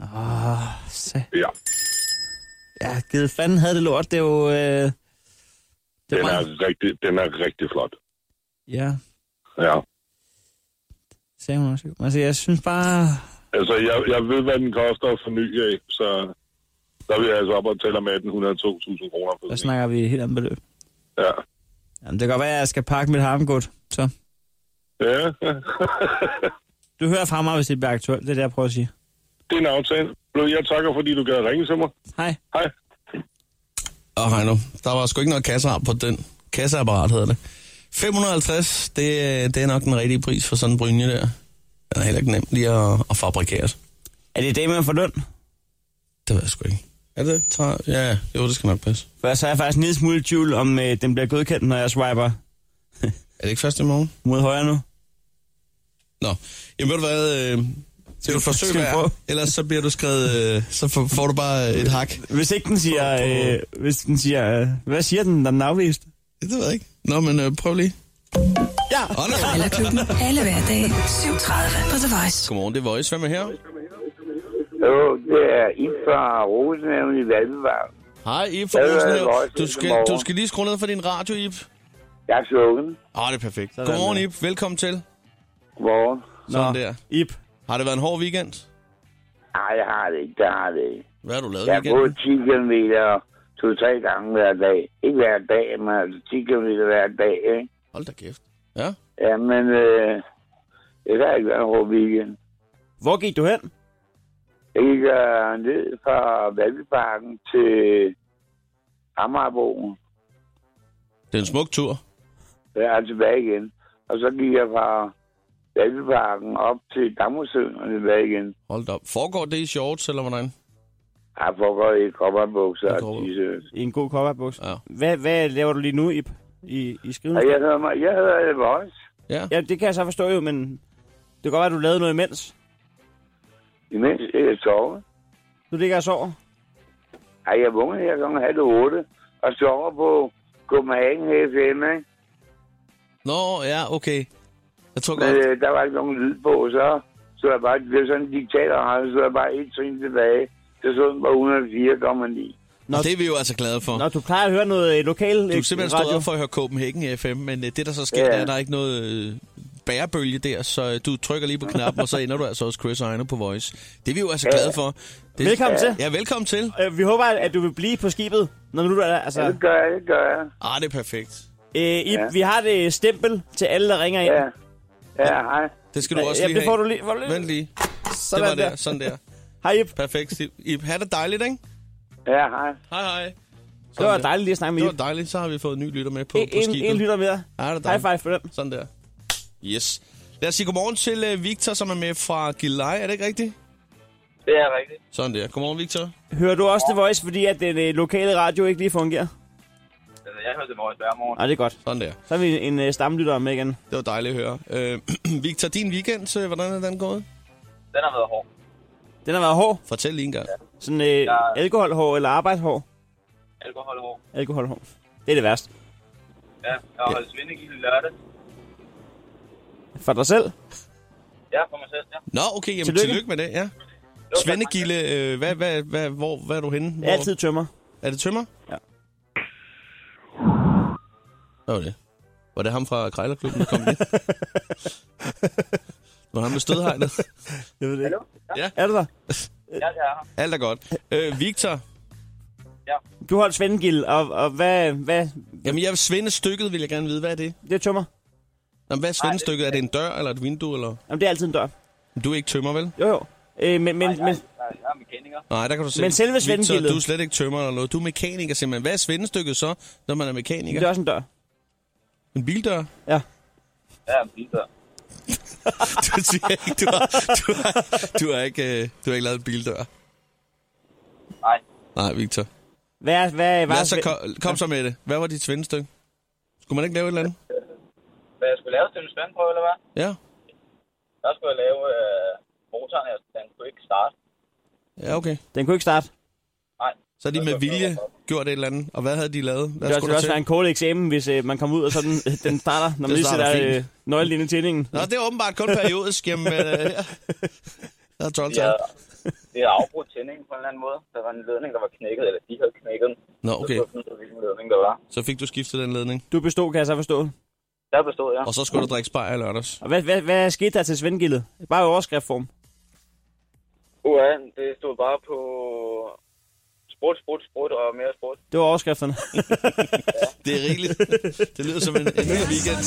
C: Åh, Ah, se.
F: Ja,
C: Ja, givet fanden havde det lort. Det er jo... Øh, det
F: den
C: var,
F: er, rigtig, den er rigtig flot.
C: Ja,
F: Ja.
C: sagde hun også. Altså, jeg synes bare...
F: Altså, jeg, jeg ved, hvad den koster at forny af, så der vil jeg altså op og tælle med 1.800-2.000 kroner. For
C: Der
F: den.
C: snakker vi et helt andet beløb.
F: Ja.
C: Jamen, det kan godt være, at jeg skal pakke mit harmgud. Så.
F: ja.
C: Du hører fra mig, hvis det bliver aktuelt. Det er det, jeg prøver at sige.
F: det er en aftale. Nå, Jeg takker, fordi du gad ringe til mig.
C: Hej.
F: Hej.
B: Åh, oh, Heino, der var sgu ikke noget kasseapparat på den. Kasseapparat hedder det. 550, det, øh, det er nok den rigtige pris for sådan en brynje der. Den er heller ikke nem lige at, at fabrikere.
C: Er det i dag, man får løn?
B: Det ved jeg sgu ikke. Er det? Tre- Ja, ja. jo, det skal nok passe.
C: For så er jeg faktisk en lille smule i tvivl, om øh, den bliver godkendt, når jeg swiper
B: Er det ikke først i morgen?
C: mod højre nu.
B: Nå, jamen ved du hvad, øh, det er jo et forsøg
C: Skal vi prøve?
B: værd. Ellers så bliver du skrevet, øh, så får, får du bare et hak.
C: Hvis ikke den siger... Øh, hvis den siger øh, hvad siger den, når den er afvist?
B: Det ved jeg ikke. Nå, men øh, prøv lige.
C: Ja!
B: Åh, nej.
A: Krejlerklubben. Alle hverdage 7.30 på The Voice.
B: Godmorgen, det er Voice. Hvem er her?
H: Jo, det er Ip fra Rosenhaven i Valmevarv.
B: Hej, Ib fra
H: Ja, det er
B: Rosenhav.
H: Lois,
B: Du
H: ligesom
B: skal,
H: over.
B: du skal lige skrue ned for din radio, Ib.
H: Jeg er slukken.
B: Åh, det er perfekt.
C: Sådan
B: Godmorgen,
C: der.
B: Ib. Velkommen til.
H: Godmorgen.
B: Sådan der.
C: Ip.
B: Har det været en hård weekend?
H: Nej, jeg har det ikke. Det har det ikke.
B: Hvad har du lavet i
H: Jeg har gået
B: weekenden?
H: 10 km to-tre gange hver dag. Ikke hver dag, men altså 10 km hver dag. Ikke?
B: Hold da kæft. Ja.
H: Ja, men øh, det har ikke været en hård weekend.
C: Hvor gik du hen?
H: Jeg gik øh, ned fra Valbyparken til Amagerbroen.
B: Det er en smuk tur.
H: Jeg er tilbage igen. Og så gik jeg fra Valbyparken op til Dammersøen og tilbage igen.
B: Hold da op. Foregår det i shorts, eller hvordan?
H: Jeg har foregået i kopperbukser
B: Jeg
H: og
B: tror-
H: t-shirts.
C: I en god cowboybuks.
B: Ja.
C: Hvad, hvad laver du lige nu, Ip? I, i skriven?
H: Og jeg hedder, mig, jeg hedder The Voice.
B: Ja.
C: Ja, det kan jeg så forstå jo, men det kan godt være, at du lavede noget imens.
H: Imens jeg sover.
C: Du ligger og sover.
H: Ej, jeg vågnede her kl. halv otte og sover på Copenhagen FM, ikke?
B: Nå, ja, okay. Jeg tror
H: Men
B: godt.
H: øh, der var ikke nogen lyd på, så så jeg bare, det blev sådan en diktator, og så så jeg bare et trin tilbage. Så så den bare 104,9.
B: Nå, det er vi jo altså glade for.
C: Nå, du plejer at høre noget øh, lokal
B: Du er simpelthen stået
C: radio.
B: op for at høre Copenhagen FM, men øh, det, der så sker,
H: Ja.
B: ja. er, at der er ikke noget øh, bærebølge der, så øh, du trykker lige på knappen, og så ender du altså også Chris og Ejner på Voice. Det er vi jo altså glade for. Det,
C: Velkommen til.
B: Ja, velkommen til.
C: Øh, vi håber, at at du vil blive på skibet, når nu du er der. Altså,
H: Ja, det gør jeg, det gør jeg.
B: Ah, det er perfekt.
C: øh, Ip,
H: Ja.
C: vi har det stempel til alle, der ringer ind.
H: Ja, ja hej.
B: Det skal du også
C: ja,
B: lige
C: det får
B: have.
C: du lige. Får du lige.
B: Vent lige. Det
C: sådan
B: var der. Sådan der.
C: Hej, Ip.
B: Perfekt. Steve. Ib, ha' det dejligt, ikke?
H: Ja, hej.
B: Hej, hej.
C: Det var dejligt lige at snakke med
B: Det
C: Ip.
B: var dejligt. Så har vi fået en ny lytter med på,
C: En,
B: på
C: en,
B: skibet.
C: en lytter mere.
B: Ja, det er
C: High
B: dejligt.
C: five for den.
B: Sådan der. Yes. Lad os sige godmorgen til øh, Victor, som er med fra Gilleleje. Er det ikke rigtigt?
E: Det er rigtigt.
B: Sådan der. Godmorgen, Victor.
C: Hører du også The Voice, fordi at den øh, lokale radio ikke lige fungerer?
E: Altså, jeg hørte det vores hver morgen.
C: Nej, det er godt.
B: Sådan der.
C: Så er vi en øh, stamlytter med igen.
B: Det var dejligt at høre. Øh, [clears throat] Victor, din weekend, øh, hvordan er den gået?
E: Den har været hård.
C: Den har været hård.
B: Fortæl lige en gang.
C: Sådan øh, alkoholhår eller arbejdshår.
E: Alkohol hård.
C: Alkoholhår. Det er det værste.
E: Ja, jeg har holdt svindegilde lørdag.
C: For dig selv?
E: Ja, for mig selv, ja.
B: Nå, okay. Jamen, tillykke,
C: Tillykke.
B: tillykke med det, ja.
E: Jo, tak,
B: Svendegilde, øh, hvad, hvad, hvad, hvor, hvad er du henne? Hvor?
C: Altid tømmer.
B: Er det tømmer?
C: Ja.
B: Hvad var det? Var det ham fra Krejlerklubben, der kom [laughs] ind? var han med stødhegnet?
C: Jeg ved det ikke.
B: Ja.
C: Er du der?
E: Ja, jeg er her.
B: Alt er godt. Øh, Victor,
C: Du holdt Svendegild, og, og hvad, hvad?
B: jamen jeg vil svende stykket, vil jeg gerne vide. Hvad er det?
C: Det er tømmer.
B: Jamen, hvad er svendestykket? Er det en dør eller et vindue? Eller?
C: Jamen, det er altid en dør.
B: Du er ikke tømmer, vel?
C: Jo, jo. Øh, men, men, men,
E: Jeg er- jeg er mekaniker.
B: Nej, der kan du se.
C: Men selve
B: Victor,
C: svendegildet-
B: du er slet ikke tømmer eller noget. Du er mekaniker simpelthen. Hvad er svendestykket så, når man er mekaniker?
C: det er også en dør.
B: En bildør? [laughs]
C: Ja.
E: Ja, en bildør.
B: Du siger ikke, du har, du har, du har, ikke, øh, du har ikke lavet en bildør.
E: Nej.
B: Nej, Victor.
C: Hvad, er- hvad,
B: Lad
C: hvad,
B: os så, kom, kom så med det. Hvad var dit svendestykke? Skulle man ikke lave et eller andet?
E: Hvad jeg skulle lave til en spændprøve, eller hvad?
B: Ja.
E: Der skulle jeg lave øh, motoren her, så den kunne ikke starte.
B: Ja, okay.
C: Den kunne ikke starte.
E: Nej.
B: Så har de med vilje gjort et eller andet. Og hvad havde de lavet? Hvad
C: Det
B: skulle
C: skulle
B: der
C: også
B: til?
C: være en kort eksamen, hvis øh, man kommer ud, og så den,
B: [laughs]
C: den starter, når man lige
B: starter
C: sætter
B: fint.
C: øh, nøglen ind i tændingen.
B: Nå, det er åbenbart kun periodisk. Jamen, øh, her.
C: [laughs]
B: Der er 12
E: Ja,
B: ja.
E: det er afbrudt tændingen på en eller anden måde. Der var en ledning, der var knækket, eller de havde knækket den.
B: Nå, okay.
E: Så skulle jeg finde ud af, hvilken ledning der var.
B: Så fik du skiftet den ledning.
C: Du bestod, kan jeg så forstå.
E: Der bestod jeg.
B: Og så skulle du drikke spejl i lørdags.
C: Og hvad, hvad, hvad skete der til Svendegildet? Bare i overskriftform.
E: Uha, det stod bare på sprut, sprut, sprut og mere sprut.
C: Det var
B: [laughs]
C: overskrifterne.
B: Det er rigeligt. Det lyder som en, en hel weekend.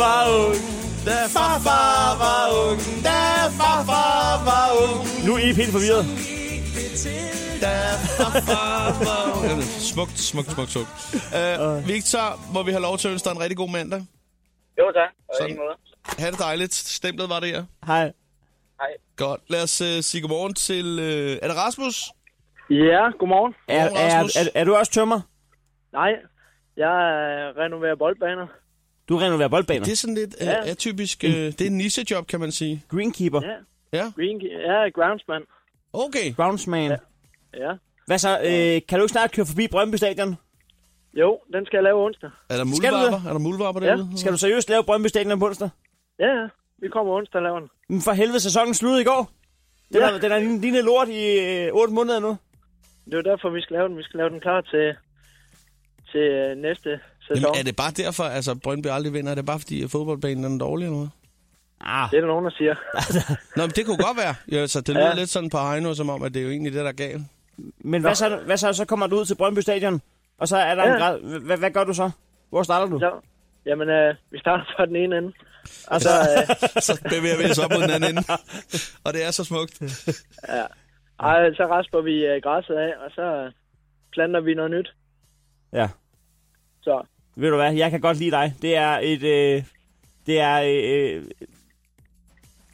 C: Var ung,
B: Da farfar var ung, da farfar var ung,
C: nu er I helt forvirret.
B: da farfar var ung. Jamen, Smukt, smukt, smukt, smukt. Uh, Victor, må vi have lov til at ønske dig en rigtig god mandag.
E: Jo tak, og
B: Sådan.
E: i lige måde.
B: Ha' det dejligt. Stemplet var det her.
C: Hej.
B: Godt. Lad os uh, sige godmorgen til... Uh, er det Rasmus?
D: Ja, godmorgen.
C: Er,
B: Godmorgen,
C: er, er,
B: Rasmus.
C: er, er du også tømmer?
D: Nej, jeg øh, renoverer boldbaner.
C: Du renoverer boldbaner.
B: Det er sådan lidt uh,
D: Ja.
B: atypisk... Uh, det er en nichejob, kan man sige.
C: Greenkeeper.
D: Ja.
B: Ja.
D: Green, ja, groundsman.
B: Okay.
C: Groundsman.
D: Ja.
C: Hvad så? Øh, kan du ikke snart køre forbi Brøndby Stadion?
D: Jo, den skal jeg lave onsdag.
B: Er der
C: Skal du
B: muldvarper? Er der muldvarper derude?
C: Skal du seriøst lave Brøndby Stadion på onsdag?
D: Ja, ja.
E: Vi kommer onsdag og laver den.
C: Men for helvede, sæsonen sluttede i går. Den
E: Ja.
C: har den er lignet lort i øh, 8 måneder nu.
E: Det er jo derfor, vi skal lave den. Vi skal lave den klar til, til øh, næste sæson.
B: Jamen, er det bare derfor, altså Brøndby aldrig vinder? Er det bare fordi, at fodboldbanen den er dårlig eller noget?
C: Ah,
E: Det er der nogen, der
B: [laughs]
E: siger.
B: Nå, men det kunne godt være. Ja, så det lyder ja. lidt sådan på Heino, som om, at det er jo egentlig det, der er galt.
C: [laughs] men hvad så, hvad så, så kommer du ud til Brøndby Stadion, og så er der ja. en
E: Ja.
C: grad... Hvad, hvad gør du så? Hvor starter du?
E: Så, jamen, øh, vi starter fra den ene ende.
C: Og så, øh,
B: Så bevæger vi os op mod den anden ende. Og det er så smukt.
E: øh, Ej, så rasper vi øh, græsset af, og så øh, planter vi noget nyt.
C: ja.
E: Så
C: Ved du hvad, jeg kan godt lide dig. Det er et... Øh, det er øh,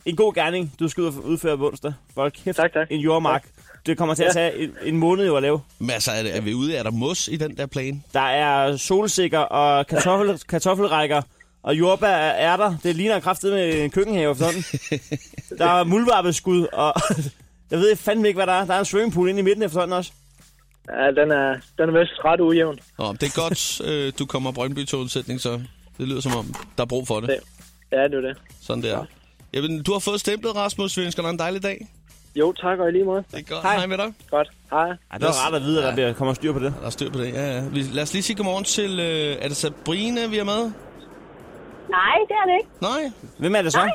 C: en god gerning, du skal ud og udføre på onsdag. Folk kæft,
E: Tak, tak.
C: en jordmark. Det kommer til at
E: Ja.
C: tage en, en måned jo at lave.
B: Men altså, er, det, er vi ude? Er der mos i den der plan?
C: Der er solsikker og kartoffel, kartoffelrækker, og jordbær er der. Det ligner kraftet med en køkkenhave efterhånden. der er muldvarpeskud, og [laughs] jeg ved fandme ikke, hvad der er. Der er en swimmingpool inde i midten efterhånden også.
E: ja, den er, den er vist ret ujævn.
B: Nå, det er
E: [laughs]
B: godt, øh, du kommer Brøndby til undsætning, så det lyder som om, der er brug for det.
E: Det- Ja, det er det.
B: Sådan der. Jamen, du har fået stemplet, Rasmus. Vi ønsker dig en dejlig dag.
E: Jo, tak og i lige måde.
B: Det er godt.
C: Hej.
B: Hej, Hej med dig.
E: Godt. Hej.
C: Ej, det var rart at vide, at der bliver- kommer styr på det.
B: Der er styr på det, ja, ja. Vi- Lad os lige sige godmorgen til... Øh, er det Sabrina, vi er med?
I: Nej, det er det ikke.
B: Nej.
C: Hvem er det så?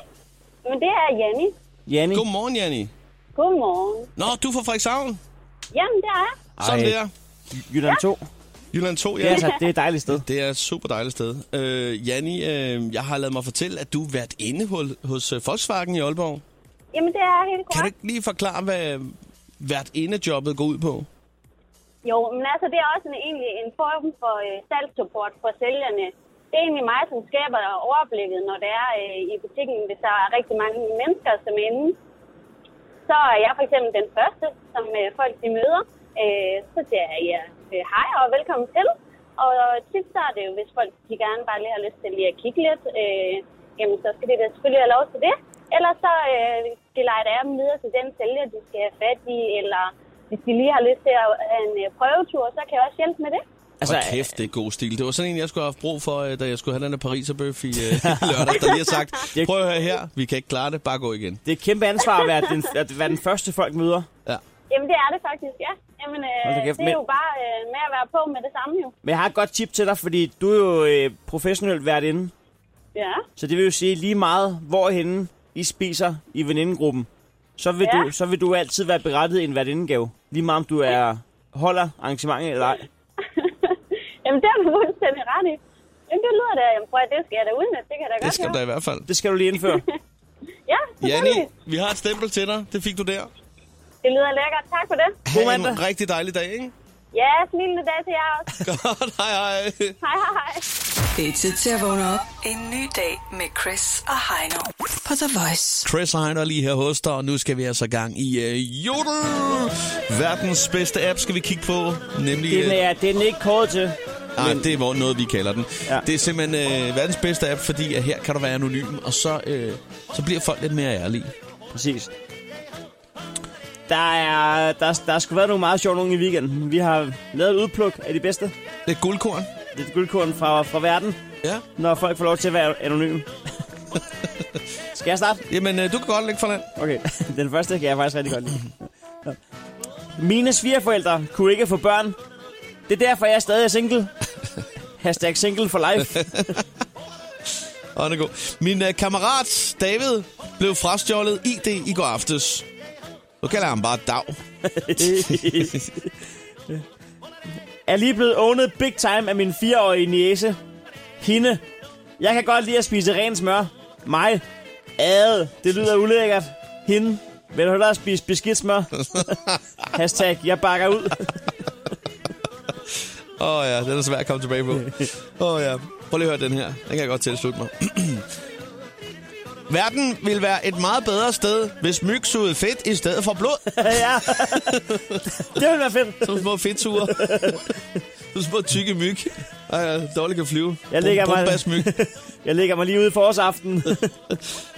I: Men det er Janni.
C: Janni.
B: Godmorgen, Janni.
I: Godmorgen.
B: Nå, du er fra Frederikshavn.
I: Jamen, det er jeg.
B: Sådan
C: Ej.
B: der.
C: Jylland 2.
B: Jylland 2,
C: Det er,
B: ja.
C: altså, det er et dejligt sted.
B: Det er et super dejligt sted. Øh, Janni, øh, jeg har lavet mig fortælle, at du har været inde hos, hos øh, Volkswagen i Aalborg.
I: Jamen, det er helt
B: Kan du
I: korrekt.
B: ikke lige forklare, hvad hvert inde-jobbet går ud på?
I: Jo, men altså, det er også en, egentlig en form for øh, salgssupport for sælgerne. Det er egentlig mig, som skaber overblikket, når det er øh, i butikken, hvis der er rigtig mange mennesker, som er inde. Så er jeg for eksempel den første, som øh, folk de møder. Øh, så siger jeg ja, øh, hej og velkommen til. Og tit så er det jo, hvis folk de gerne bare lige har lyst til lige at kigge lidt, øh, jamen så skal de da selvfølgelig have lov til det. Ellers så øh, gelejder jeg dem videre til den sælger, de skal have fat i, eller hvis de lige har lyst til at have en øh, prøvetur, så kan jeg også hjælpe med det.
B: Altså, og kæft, det er god stil. Det var sådan en, jeg skulle have haft brug for, øh, da jeg skulle have den der pariserbøf
C: [laughs]
B: i øh, lørdag, der lige har sagt, prøv at høre her, vi kan ikke klare det, bare gå igen.
C: Det er et kæmpe ansvar at være den, at være den første, folk møder.
I: Jamen det er det faktisk, ja. Jamen øh,
C: Hold da kæft,
I: det er
C: men-
I: jo bare øh, med at være på med det samme jo.
C: Men jeg har et godt tip til dig, fordi du er jo øh, professionelt vært inde.
I: Ja,
C: Så det vil jo sige lige meget, hvorhenne I spiser i venindegruppen. Så vil,
I: Ja.
C: du, så vil du altid være berettiget i en værtindegave. Lige meget om du er holder arrangementet eller ej.
I: [laughs] jamen det har du fuldstændig ret i. Jamen det lyder da, jamen prøv at det skal jeg da udnytte, det kan jeg da
B: Det
I: godt
B: skal du da
I: høre.
B: i hvert fald.
C: Det skal du lige indføre.
I: Ja,
B: Janni,
I: selvfølgelig.
B: vi har et stempel til dig. Det fik du der.
I: Det lyder lækkert, tak for det.
B: Ha' en
C: mandag.
B: rigtig dejlig dag, ikke? [laughs]
I: Ja, snillende dag til jer også.
B: Godt, hej hej.
I: Hej, hej, hej.
A: Det er tid til at vågne op. En ny dag med Chris og Heino på The Voice.
B: Chris Heiner lige her hos dig, og nu skal vi altså i gang i øh, Jodel. Verdens bedste app skal vi kigge på, nemlig...
C: Den
B: øh,
C: er, det er den ikke kåret til.
B: Nej, Ah, det er vores- noget, vi kalder den. Ja.
C: Ja.
B: Det er simpelthen øh, verdens bedste app, fordi at her kan du være anonym, og så, øh, så bliver folk lidt mere ærlige.
C: Præcis. Der er, der, der skulle være nogle meget sjove nogle i weekenden. Vi har lavet et udpluk af de bedste.
B: Lidt guldkorn.
C: Lidt guldkorn fra, fra verden,
B: Ja.
C: når folk får lov til at være anonyme. [laughs] skal jeg starte?
B: Jamen, øh, du kan godt lægge for land.
C: Okay, [laughs] den første kan jeg faktisk rigtig godt lide. Nå. Mine svigerforældre kunne ikke få børn. Det er derfor, jeg stadig er single. Hashtag single for life. [laughs]
B: Åh, det er god. Min øh, kammerat, David, blev frastjålet ID i går aftes. Nu kalder jeg ham bare Dag.
C: er lige blevet ownet big time af min fireårige niece. Hende. Jeg kan godt lide at spise ren smør. Mig. Ad. Det lyder ulækkert. Hende. Vil du hellere spise beskidtsmør? Hashtag, jeg bakker ud. [laughs]
B: Åh oh, ja, den er svær at komme tilbage på. Åh oh, ja. Prøv lige at høre den her. Den kan jeg godt tilslutte mig. [clears throat] Verden ville være et meget bedre sted, hvis myg sugede fedt i stedet for blod.
C: ja. det ville være fedt.
B: Som små fedture. Som små tykke myg. Ej, ja, dårligt kan flyve.
C: Jeg ligger mig-
B: mig... myg.
C: Jeg lægger mig lige ude i forårsaften.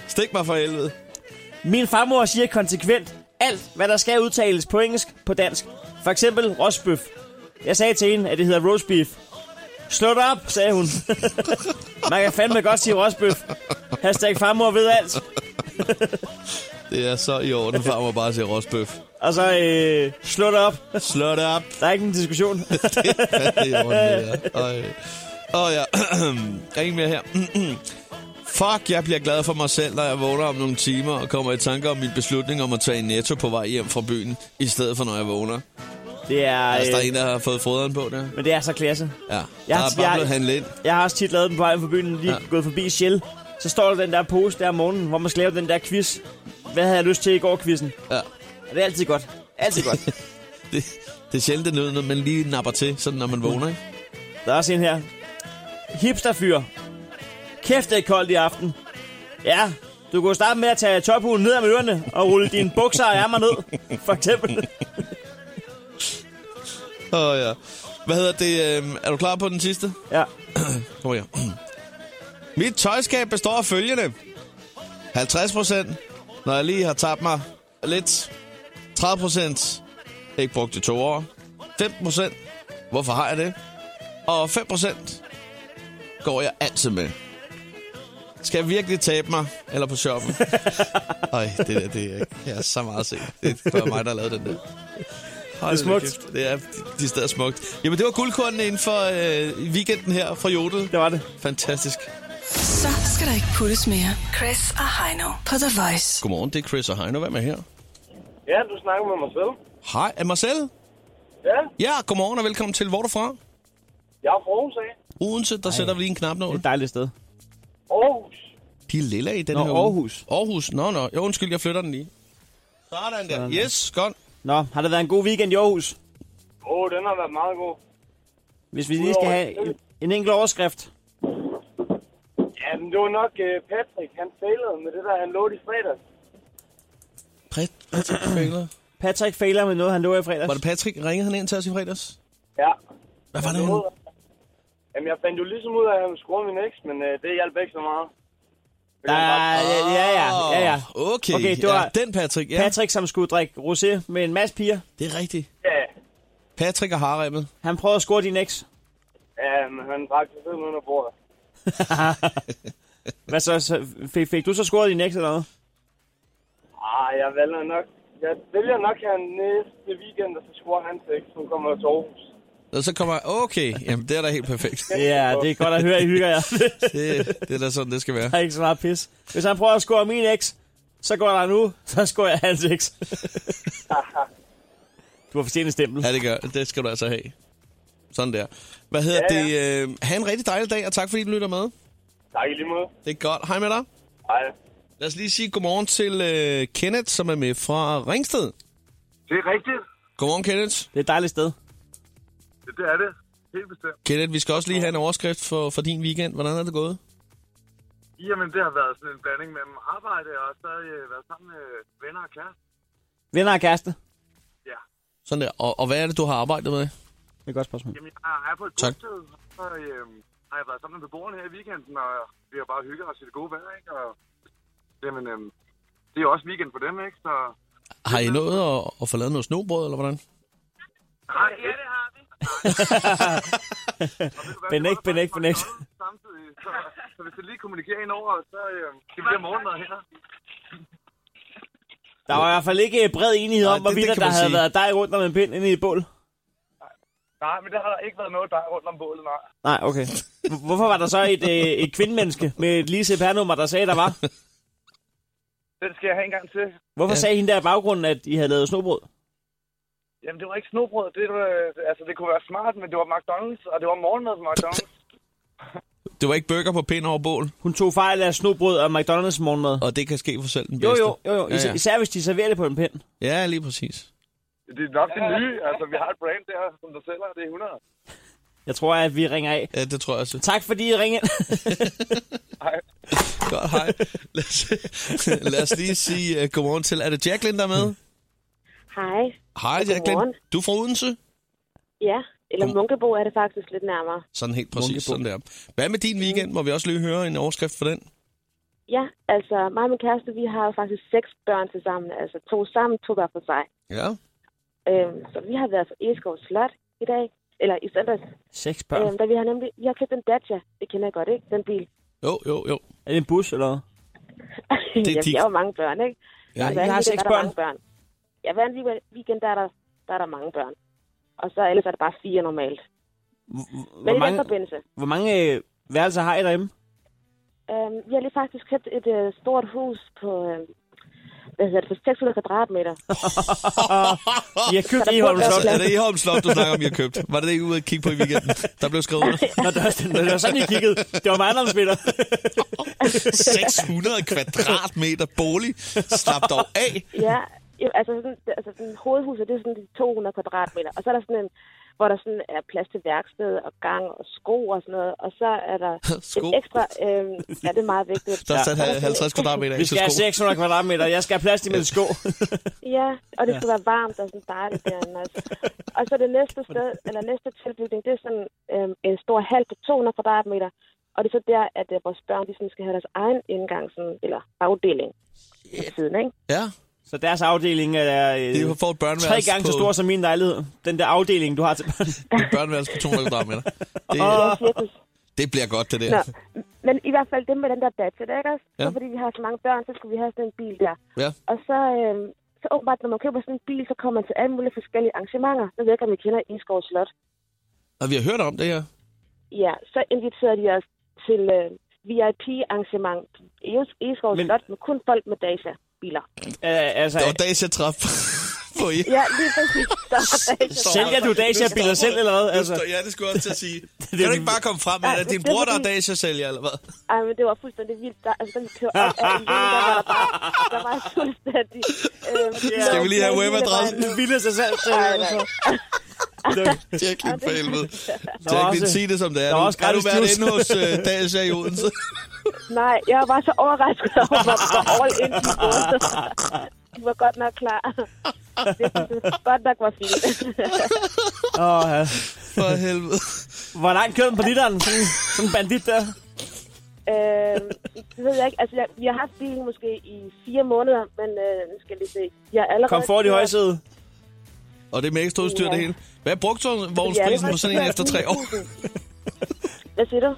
B: Stik mig for helvede.
C: Min farmor siger konsekvent alt, hvad der skal udtales på engelsk, på dansk. For eksempel rostbøf. Jeg sagde til hende, at det hedder roast beef. Slå dig op, sagde hun. [laughs] Man kan fandme godt sige rosbøf. Hashtag farmor ved alt.
B: Det er så i orden, farmor bare siger rosbøf.
C: Og så øh, slå det op.
B: Slå det op.
C: Der er ikke en diskussion.
B: det er ordentligt, ja. Ej. Åh ja, [clears throat] der er ingen mere her. [clears throat] Fuck, jeg bliver glad for mig selv, når jeg vågner om nogle timer og kommer i tanke om min beslutning om at tage en netto på vej hjem fra byen, i stedet for når jeg vågner.
C: Det er,
B: Altså, der er
C: øh,
B: en, der har fået foderen på der.
C: men det er så klasse.
B: Ja,
C: Jeg
B: jeg
C: har-
B: der er bare
C: jeg-
B: blevet handlet ind.
C: Jeg har også tit lavet den på vejen for byen, lige ja.
B: Ja.
C: gået forbi Shell. Så står der den der pose der om morgenen, hvor man skal lave den der quiz. Hvad havde jeg lyst til i går, quizzen?
B: Ja.
C: Og det er altid godt. Altid godt.
B: Det, det er sjældent, det lyder, når man lige napper til, sådan når man vågner, ikke?
C: Der er også en her. Hipsterfyr. Kæft, det er koldt i aften. Ja, du kunne starte med at tage tophulen ned af ørerne og rulle dine bukser og ærmer ned, for eksempel.
B: Åh ja. Hvad hedder det? Øh, er du klar på den sidste?
C: Ja.
B: Kom her. Mit tøjskab består af følgende. 50 procent, når jeg lige har tabt mig lidt. 30 procent, ikke brugt i to år. 15 procent, hvorfor har jeg det? Og 5 procent går jeg altid med. Skal jeg virkelig tabe mig? Eller på
C: [laughs]
B: shoppen? Ej, det der, det er, jeg er så meget set. Det er mig, der har lavet den der. Hold
C: Det er smukt.
B: da kæft. Det er, de er stadig smukt. Jamen, det var guldkornene inden for øh, weekenden her fra Jodel.
C: Det var det.
B: Fantastisk.
A: Så skal der ikke puttes mere. Chris og Heino på The Voice.
B: Godmorgen, det er Chris og Heino. Hvem er her?
E: Ja, du snakker med mig selv.
B: Hej, er Marcel?
E: Ja,
B: Ja, godmorgen og velkommen til. Hvor er du fra?
E: jeg er fra Aarhus af.
B: Odense, der Ej. sætter vi lige en
C: Det er
B: knapnål.
C: et dejligt sted.
E: Aarhus.
B: De er lilla i den
C: Nå,
B: her uge.
C: Aarhus.
B: Aarhus, nå, nå. Jo, undskyld, jeg flytter den lige. Sådan der. Yes, godt.
C: Nå, har det været en god weekend i Aarhus?
E: Åh, oh, den har været meget god.
C: Hvis vi lige skal have en, en enkelt overskrift.
E: Ja, men det var nok øh, Patrick, han failede med det der, han lå i fredags.
B: Patrick [clears throat] Fængler.
C: Patrick fejler med noget, han lå i fredags.
B: Var det Patrick? Ringede han ind til os i fredags?
E: Ja.
B: Hvad var det nu?
E: Jamen, jeg fandt jo ligesom ud af, at han ville score min eks, men øh, det hjalp ikke så meget.
C: Der, ja, ja, ja, ja, ja.
B: Okay,
C: Okay,
B: okay
C: det
B: det
C: var-
B: ja, den Patrick. Ja,
C: Patrick, som skulle drikke rosé med en masse piger,
B: det er rigtigt.
E: Ja,
B: Patrick og haremmet.
C: han prøvede at score din eks.
E: ja men han drak sig selv under bordet.
C: Hvad så? så fik, fik du så scoret din eks eller noget?
E: Ah, jeg vælger nok. Jeg vælger nok her næste weekend, og så scorer han til eks, som kommer til Aarhus.
B: Og så kommer okay, jamen det er da helt perfekt. [laughs]
C: Ja, det er godt at høre, I hygger jer. [laughs]
B: Det, det er da sådan, det skal være.
C: Der er ikke så meget pis. Hvis han prøver at score min eks, så går der nu, så scorer jeg hans
B: [laughs]
C: eks. du har fortjent en stempel.
B: Ja, det gør. Det skal du altså have. Sådan der. Hvad hedder
E: Ja,
B: ja, ja. det? Øh, ha' en rigtig dejlig dag, og tak fordi du lytter med.
E: Tak i lige måde.
B: Det er godt. Hej med dig.
E: Hej.
B: Lad os lige sige godmorgen til øh, Kenneth, som er med fra Ringsted.
E: Det er rigtigt.
B: Godmorgen, Kenneth.
C: Det er et dejligt sted.
E: Det, det er det. Helt bestemt.
B: Kenneth, vi skal også lige have en overskrift for, for din weekend. Hvordan er det gået?
E: Jamen, det har været sådan en blanding mellem arbejde og så øh, været sammen med venner og kæreste.
C: Venner og kæreste.
E: Ja.
B: Sådan der. Og, og hvad er det, du har arbejdet med?
C: Det er et godt spørgsmål.
E: Jamen, jeg er på et
B: Tak.
E: bosted, så øh, har jeg været sammen med beboerne her i weekenden, og vi har bare hygget os i det gode vejr, ikke? Og, jamen, øh, det er jo også weekend for dem, ikke? Så
B: Har I nået at, at få lavet noget snobrød, eller hvordan?
E: Nej, ja, det har [laughs] vi.
C: Benægt, benægt, benægt.
E: Samtidig, så, så hvis du lige kommunikerer ind over, så øh, det bliver morgenmad her.
C: Der var i hvert fald ikke bred enighed om,
B: Nej, det- det
C: hvorvidt
B: kan
C: at
B: man
C: der havde
B: sige.
C: været dig rundt om en pind inde i et bål.
E: Nej, men der har der ikke været noget der rundt om bålet, nej.
C: Nej, okay. Hvor- Hvorfor var der så et, øh, et kvindemenneske med et lige CPR-nummer, der sagde, der var?
E: Den skal jeg have en gang til.
C: Hvorfor
B: Ja.
C: sagde hende der i baggrunden, at I havde lavet snobrød?
E: Jamen, det var ikke snobrød. Det, var, øh, altså, det kunne være smart, men det var McDonald's, og det var morgenmad på McDonald's.
B: Det var ikke bøger på pind over bål,
C: Hun tog fejl af snobrød og McDonald's morgenmad.
B: og det kan ske for selv den
C: Jo,
B: bedste.
C: jo, jo, jo.
B: Ja,
C: Især,
B: ja.
C: især hvis de serverer det på en pind.
B: ja lige præcis.
E: Det er nok det nye. Altså, vi har et brand der, som der sælger, det er 100.
C: Jeg tror, at vi ringer af.
B: Ja, det tror jeg også.
C: Tak fordi I ringede. [laughs]
B: Godt, hej. Lad os, [laughs] lad os lige sige uh, godmorgen til... Er det Jacqueline, der er
C: Hmm.
B: med?
I: Hej.
B: Hej, Jacqueline.
I: Godmorgen.
B: Du er fra Odense?
I: Ja, eller
B: Godm-
I: Munkebo er det faktisk lidt nærmere.
B: Sådan helt præcis,
C: Munkebo.
B: sådan der. Hvad med din weekend? Må vi også lige høre en overskrift for den?
I: Ja, altså mig og min kæreste, vi har jo faktisk seks børn til sammen. Altså to sammen, to hver for sig.
B: Ja.
I: Øhm, så vi har været på Eskov Slot i dag.
J: eller i søndags.
C: Seks børn.
J: Øhm, da vi har nemlig, vi har købt en Dacia, det kender jeg godt, ikke? Den bil.
B: Jo, jo, jo.
C: Er det en bus, eller hvad?
I: [laughs]
J: Det er Jamen,
C: dit.
J: jeg har jo mange børn, ikke?
C: Ja,
J: Og hver
C: I har
J: weekend er
C: seks
J: der
C: børn.
J: mange børn. Ja, hver anden weekend- weekend, der er der, der er der mange børn. Og så ellers er der bare fire normalt. Men
C: Hvor
J: i den
C: mange,
J: forbindelse,
C: hvor mange øh, værelser har I derhjemme?
J: øhm, vi har lige faktisk købt et øh, stort hus på, øh, hvad hedder det, på 600 kvadratmeter.
C: I har købt Eholm Slot. [laughs]
B: Altså, er det Eholm Slot, du snakker om, I har købt? Var det det, I ude at kigge på i weekenden? Der blev skrevet
C: [laughs]
B: under.
C: Nå, det var, det var sådan, I kiggede. Det var mig, der spiller.
B: 600 kvadratmeter bolig. Slap dog af.
J: Ja, jo, altså sådan, det- altså sådan hovedhuset, det er sådan de 200 kvadratmeter. Og så er der sådan en, hvor der sådan er plads til værksted og gang og sko og sådan noget. Og så er der
B: Sko.
J: et ekstra... Øh, ja, det er meget vigtigt.
B: Der er sat
J: Og sådan-
B: 50 kvadratmeter af
C: Vi
B: til
C: skal have
B: sko.
C: 600 kvadratmeter. Jeg skal have plads til mine
B: [laughs]
C: sko.
J: Ja, og det skal være varmt og sådan dejligt derinde også. Og så det [laughs] næste sted, eller næste tilbygning, det er sådan øh, en stor hal på 200 kvadratmeter. Og det er så der, at øh, vores børn de sådan skal have deres egen indgang, sådan, eller afdeling. Yeah. Ved siden, ikke?
B: Ja,
C: Så deres afdeling er øh,
B: det er for et børneværelse
C: tre gange
B: på,
C: så stor som min lejlighed. Den der afdeling, du har til børn.
B: et børneværelse på 200
C: [laughs]
B: kvadratmeter. Det,
J: Det er cirkus.
B: det bliver godt, det der.
J: Nå, men i hvert fald det med den der Dacia, der, ikke også?
B: Ja.
J: Ja. Så fordi vi har så mange børn, så skulle vi have sådan en bil der.
B: Ja.
J: Og så, øh, så åbenbart, når man køber sådan en bil, så kommer man til alle mulige forskellige arrangementer. Nu ved jeg ikke, om I kender Isgård Slot.
B: Og vi har hørt om det her.
J: Ja, så inviterede de os til øh, VIP-arrangement i Isgård
C: Men-
J: Slot med kun folk med Dacia-biler.
C: Øh, altså,
B: Der var Dacia Trap [laughs] på
J: [laughs]
B: I.
J: Ja, lige præcis. Der var Dacia.
C: sælger du Dacia-biler selv, eller hvad? Altså,
B: Altså. Ja, det skulle jeg også til at sige. Kan du ikke bare komme frem med,
J: Nej,
B: at din
J: det er
B: bror, der er
J: fordi-
B: Dacia-sælger, eller hvad?
J: Ej, men det var fuldstændig vildt. Der, altså, da vi kørte op ad alene, der var der bare, der var fuldstændig... Øh,
B: Skal vi lige have webadressen?
C: du bilder sig selv til.
J: Nej, nej.
B: Jacqueline, for helvede.
C: er
B: Jacqueline,
C: også-
B: sig det som det er.
C: der er
B: Du-
C: også
B: Har du
C: gratis
B: været
C: juice.
B: inde hos uh, Dacia i Odense?
J: Nej, jeg var så overrasket over, hvor, hvor all in de gået. De var godt nok klar. Det, det, det godt nok var fint.
C: Åh, ja.
B: For helvede.
C: Hvor langt kører den på literen? Sådan, sådan en bandit der.
J: øh, det ved jeg ikke. Altså, jeg, vi har haft bilen måske i fire måneder, men øh, nu skal jeg lige se. Jeg er allerede...
C: Komfort i højsædet.
B: Og det er med ekstra udstyr, det
J: Ja.
B: hele.
J: Ja,
B: Hvad er
J: det
B: brugtvognsprisen
J: var-
B: på sådan en efter tre år? [laughs]
J: 9.000. Hvad siger du?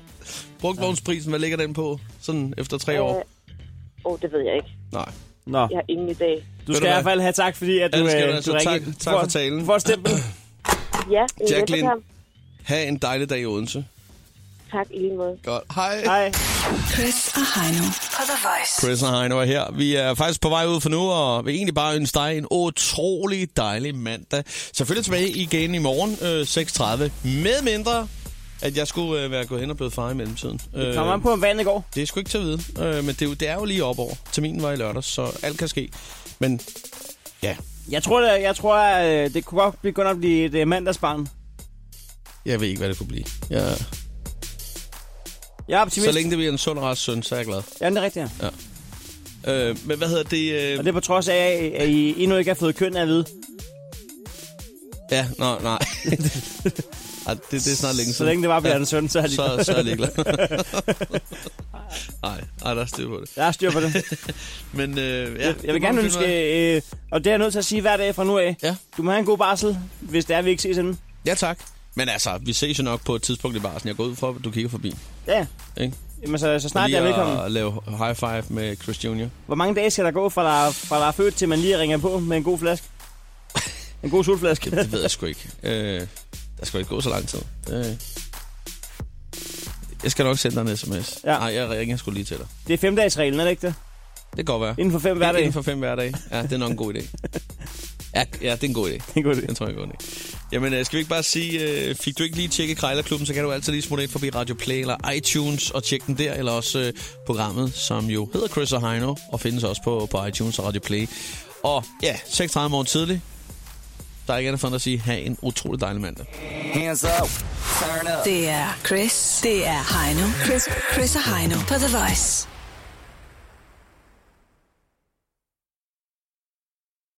B: Brugtvognsprisen, hvad ligger den på sådan efter tre
J: Åh,
B: år?
J: øh, oh, det ved jeg ikke.
B: Nej.
C: Nå,
J: Jeg har ingen idé.
C: du
B: Ved
C: skal
B: du
C: i
B: hvad?
C: hvert fald have tak, fordi at du,
B: Ja, det skal
C: øh,
B: du
C: du
B: altså.
C: rigtig-
B: Tak-
C: du
B: tak for
C: får-
B: talen.
C: du får et
B: [coughs]
C: stempel.
J: Ja, en
B: Jacqueline.
J: velbekomme.
B: Ha' en dejlig dag i Odense.
J: Tak i lige måde.
B: Godt. Hej.
C: Hej.
A: Chris og Heino på The Voice.
B: Chris og Heino er her. Vi er faktisk på vej ud for nu, og vil egentlig bare ønske dig en utrolig dejlig mandag. Selvfølgelig tilbage igen i morgen øh, 6.30, med mindre at jeg skulle øh, være gået hen og blevet far i mellemtiden. Øh,
C: Kom an på, om vandet går.
B: Det er sgu ikke til at vide, øh, men det er, jo, det er jo lige op over. Terminen var i lørdags, så alt kan ske. Men ja,
C: Jeg tror, det, jeg tror øh, det kunne godt begynde at blive et øh, mandagsbarn.
B: jeg ved ikke, hvad det kunne blive. Jeg,
C: Jeg er
B: så
C: optimist.
B: længe det bliver en sund og rask søn, så er jeg glad.
C: Ja, det er rigtigt. Ja.
B: Øh, men hvad hedder det? Øh,
C: Og det er på trods af, at I endnu ikke har fået køn af at vide.
B: Ja, nej, nej. [laughs] Ej, det, det er snart længe siden.
C: Så længe det bare bliver
B: Ja.
C: en søn, så er de-
B: [laughs] så, så er jeg
C: [laughs]
B: ligeglad. Nej, ej, der er styr på det.
C: Jeg har styr
B: [laughs]
C: på det.
B: Men øh, ja,
C: Jeg, jeg
B: det
C: vil
B: må
C: gerne
B: vi finde ud af.
C: ønske, øh, og det er jeg nødt til at sige hver dag fra nu af.
B: Ja.
C: Du må have en god barsel, hvis det er, vi ikke ses inden.
B: Ja, tak. Men altså, vi ses jo nok på et tidspunkt i barsen. Jeg går ud fra, at du kigger forbi.
C: Ja,
B: Ikke?
C: Jamen, så, så snart
B: Lige
C: jeg er velkommen.
B: at lave high five med Chris Jr.
C: Hvor mange dage skal der gå, fra der, fra der er født, til man lige ringer på med en god flaske?
B: [laughs]
C: En god solflaske.
B: Det ved jeg sgu ikke. Øh, der skal jo ikke gå så lang tid. Øh. Jeg skal nok sende dig en sms.
C: Ja.
B: Nej, jeg ringer sgu lige til dig.
C: Det er femdagsreglen, er det ikke det?
B: Det kan godt være.
C: Inden for fem hverdage.
B: Inden for fem hverdage. Ja, det er nok en god idé.
C: [laughs]
B: Ja, ja det er en god idé.
C: Det er en god idé.
B: Den tror jeg er en god idé. Jamen, øh, skal vi ikke bare sige, øh, fik du ikke lige tjekket Krejlerklubben, så kan du altid lige smutte ind forbi Radio Play eller iTunes og tjekke den der, eller også øh, programmet, som jo hedder Chris og Heino, og findes også på, på iTunes og Radio Play. Og ja, 6.30 morgen tidlig. Der er ikke andet for end at sige, have en utrolig dejlig mandag.
G: Hands up. Turn up.
A: Det er Chris. Det er Heino. Chris, Chris og Heino på The Voice.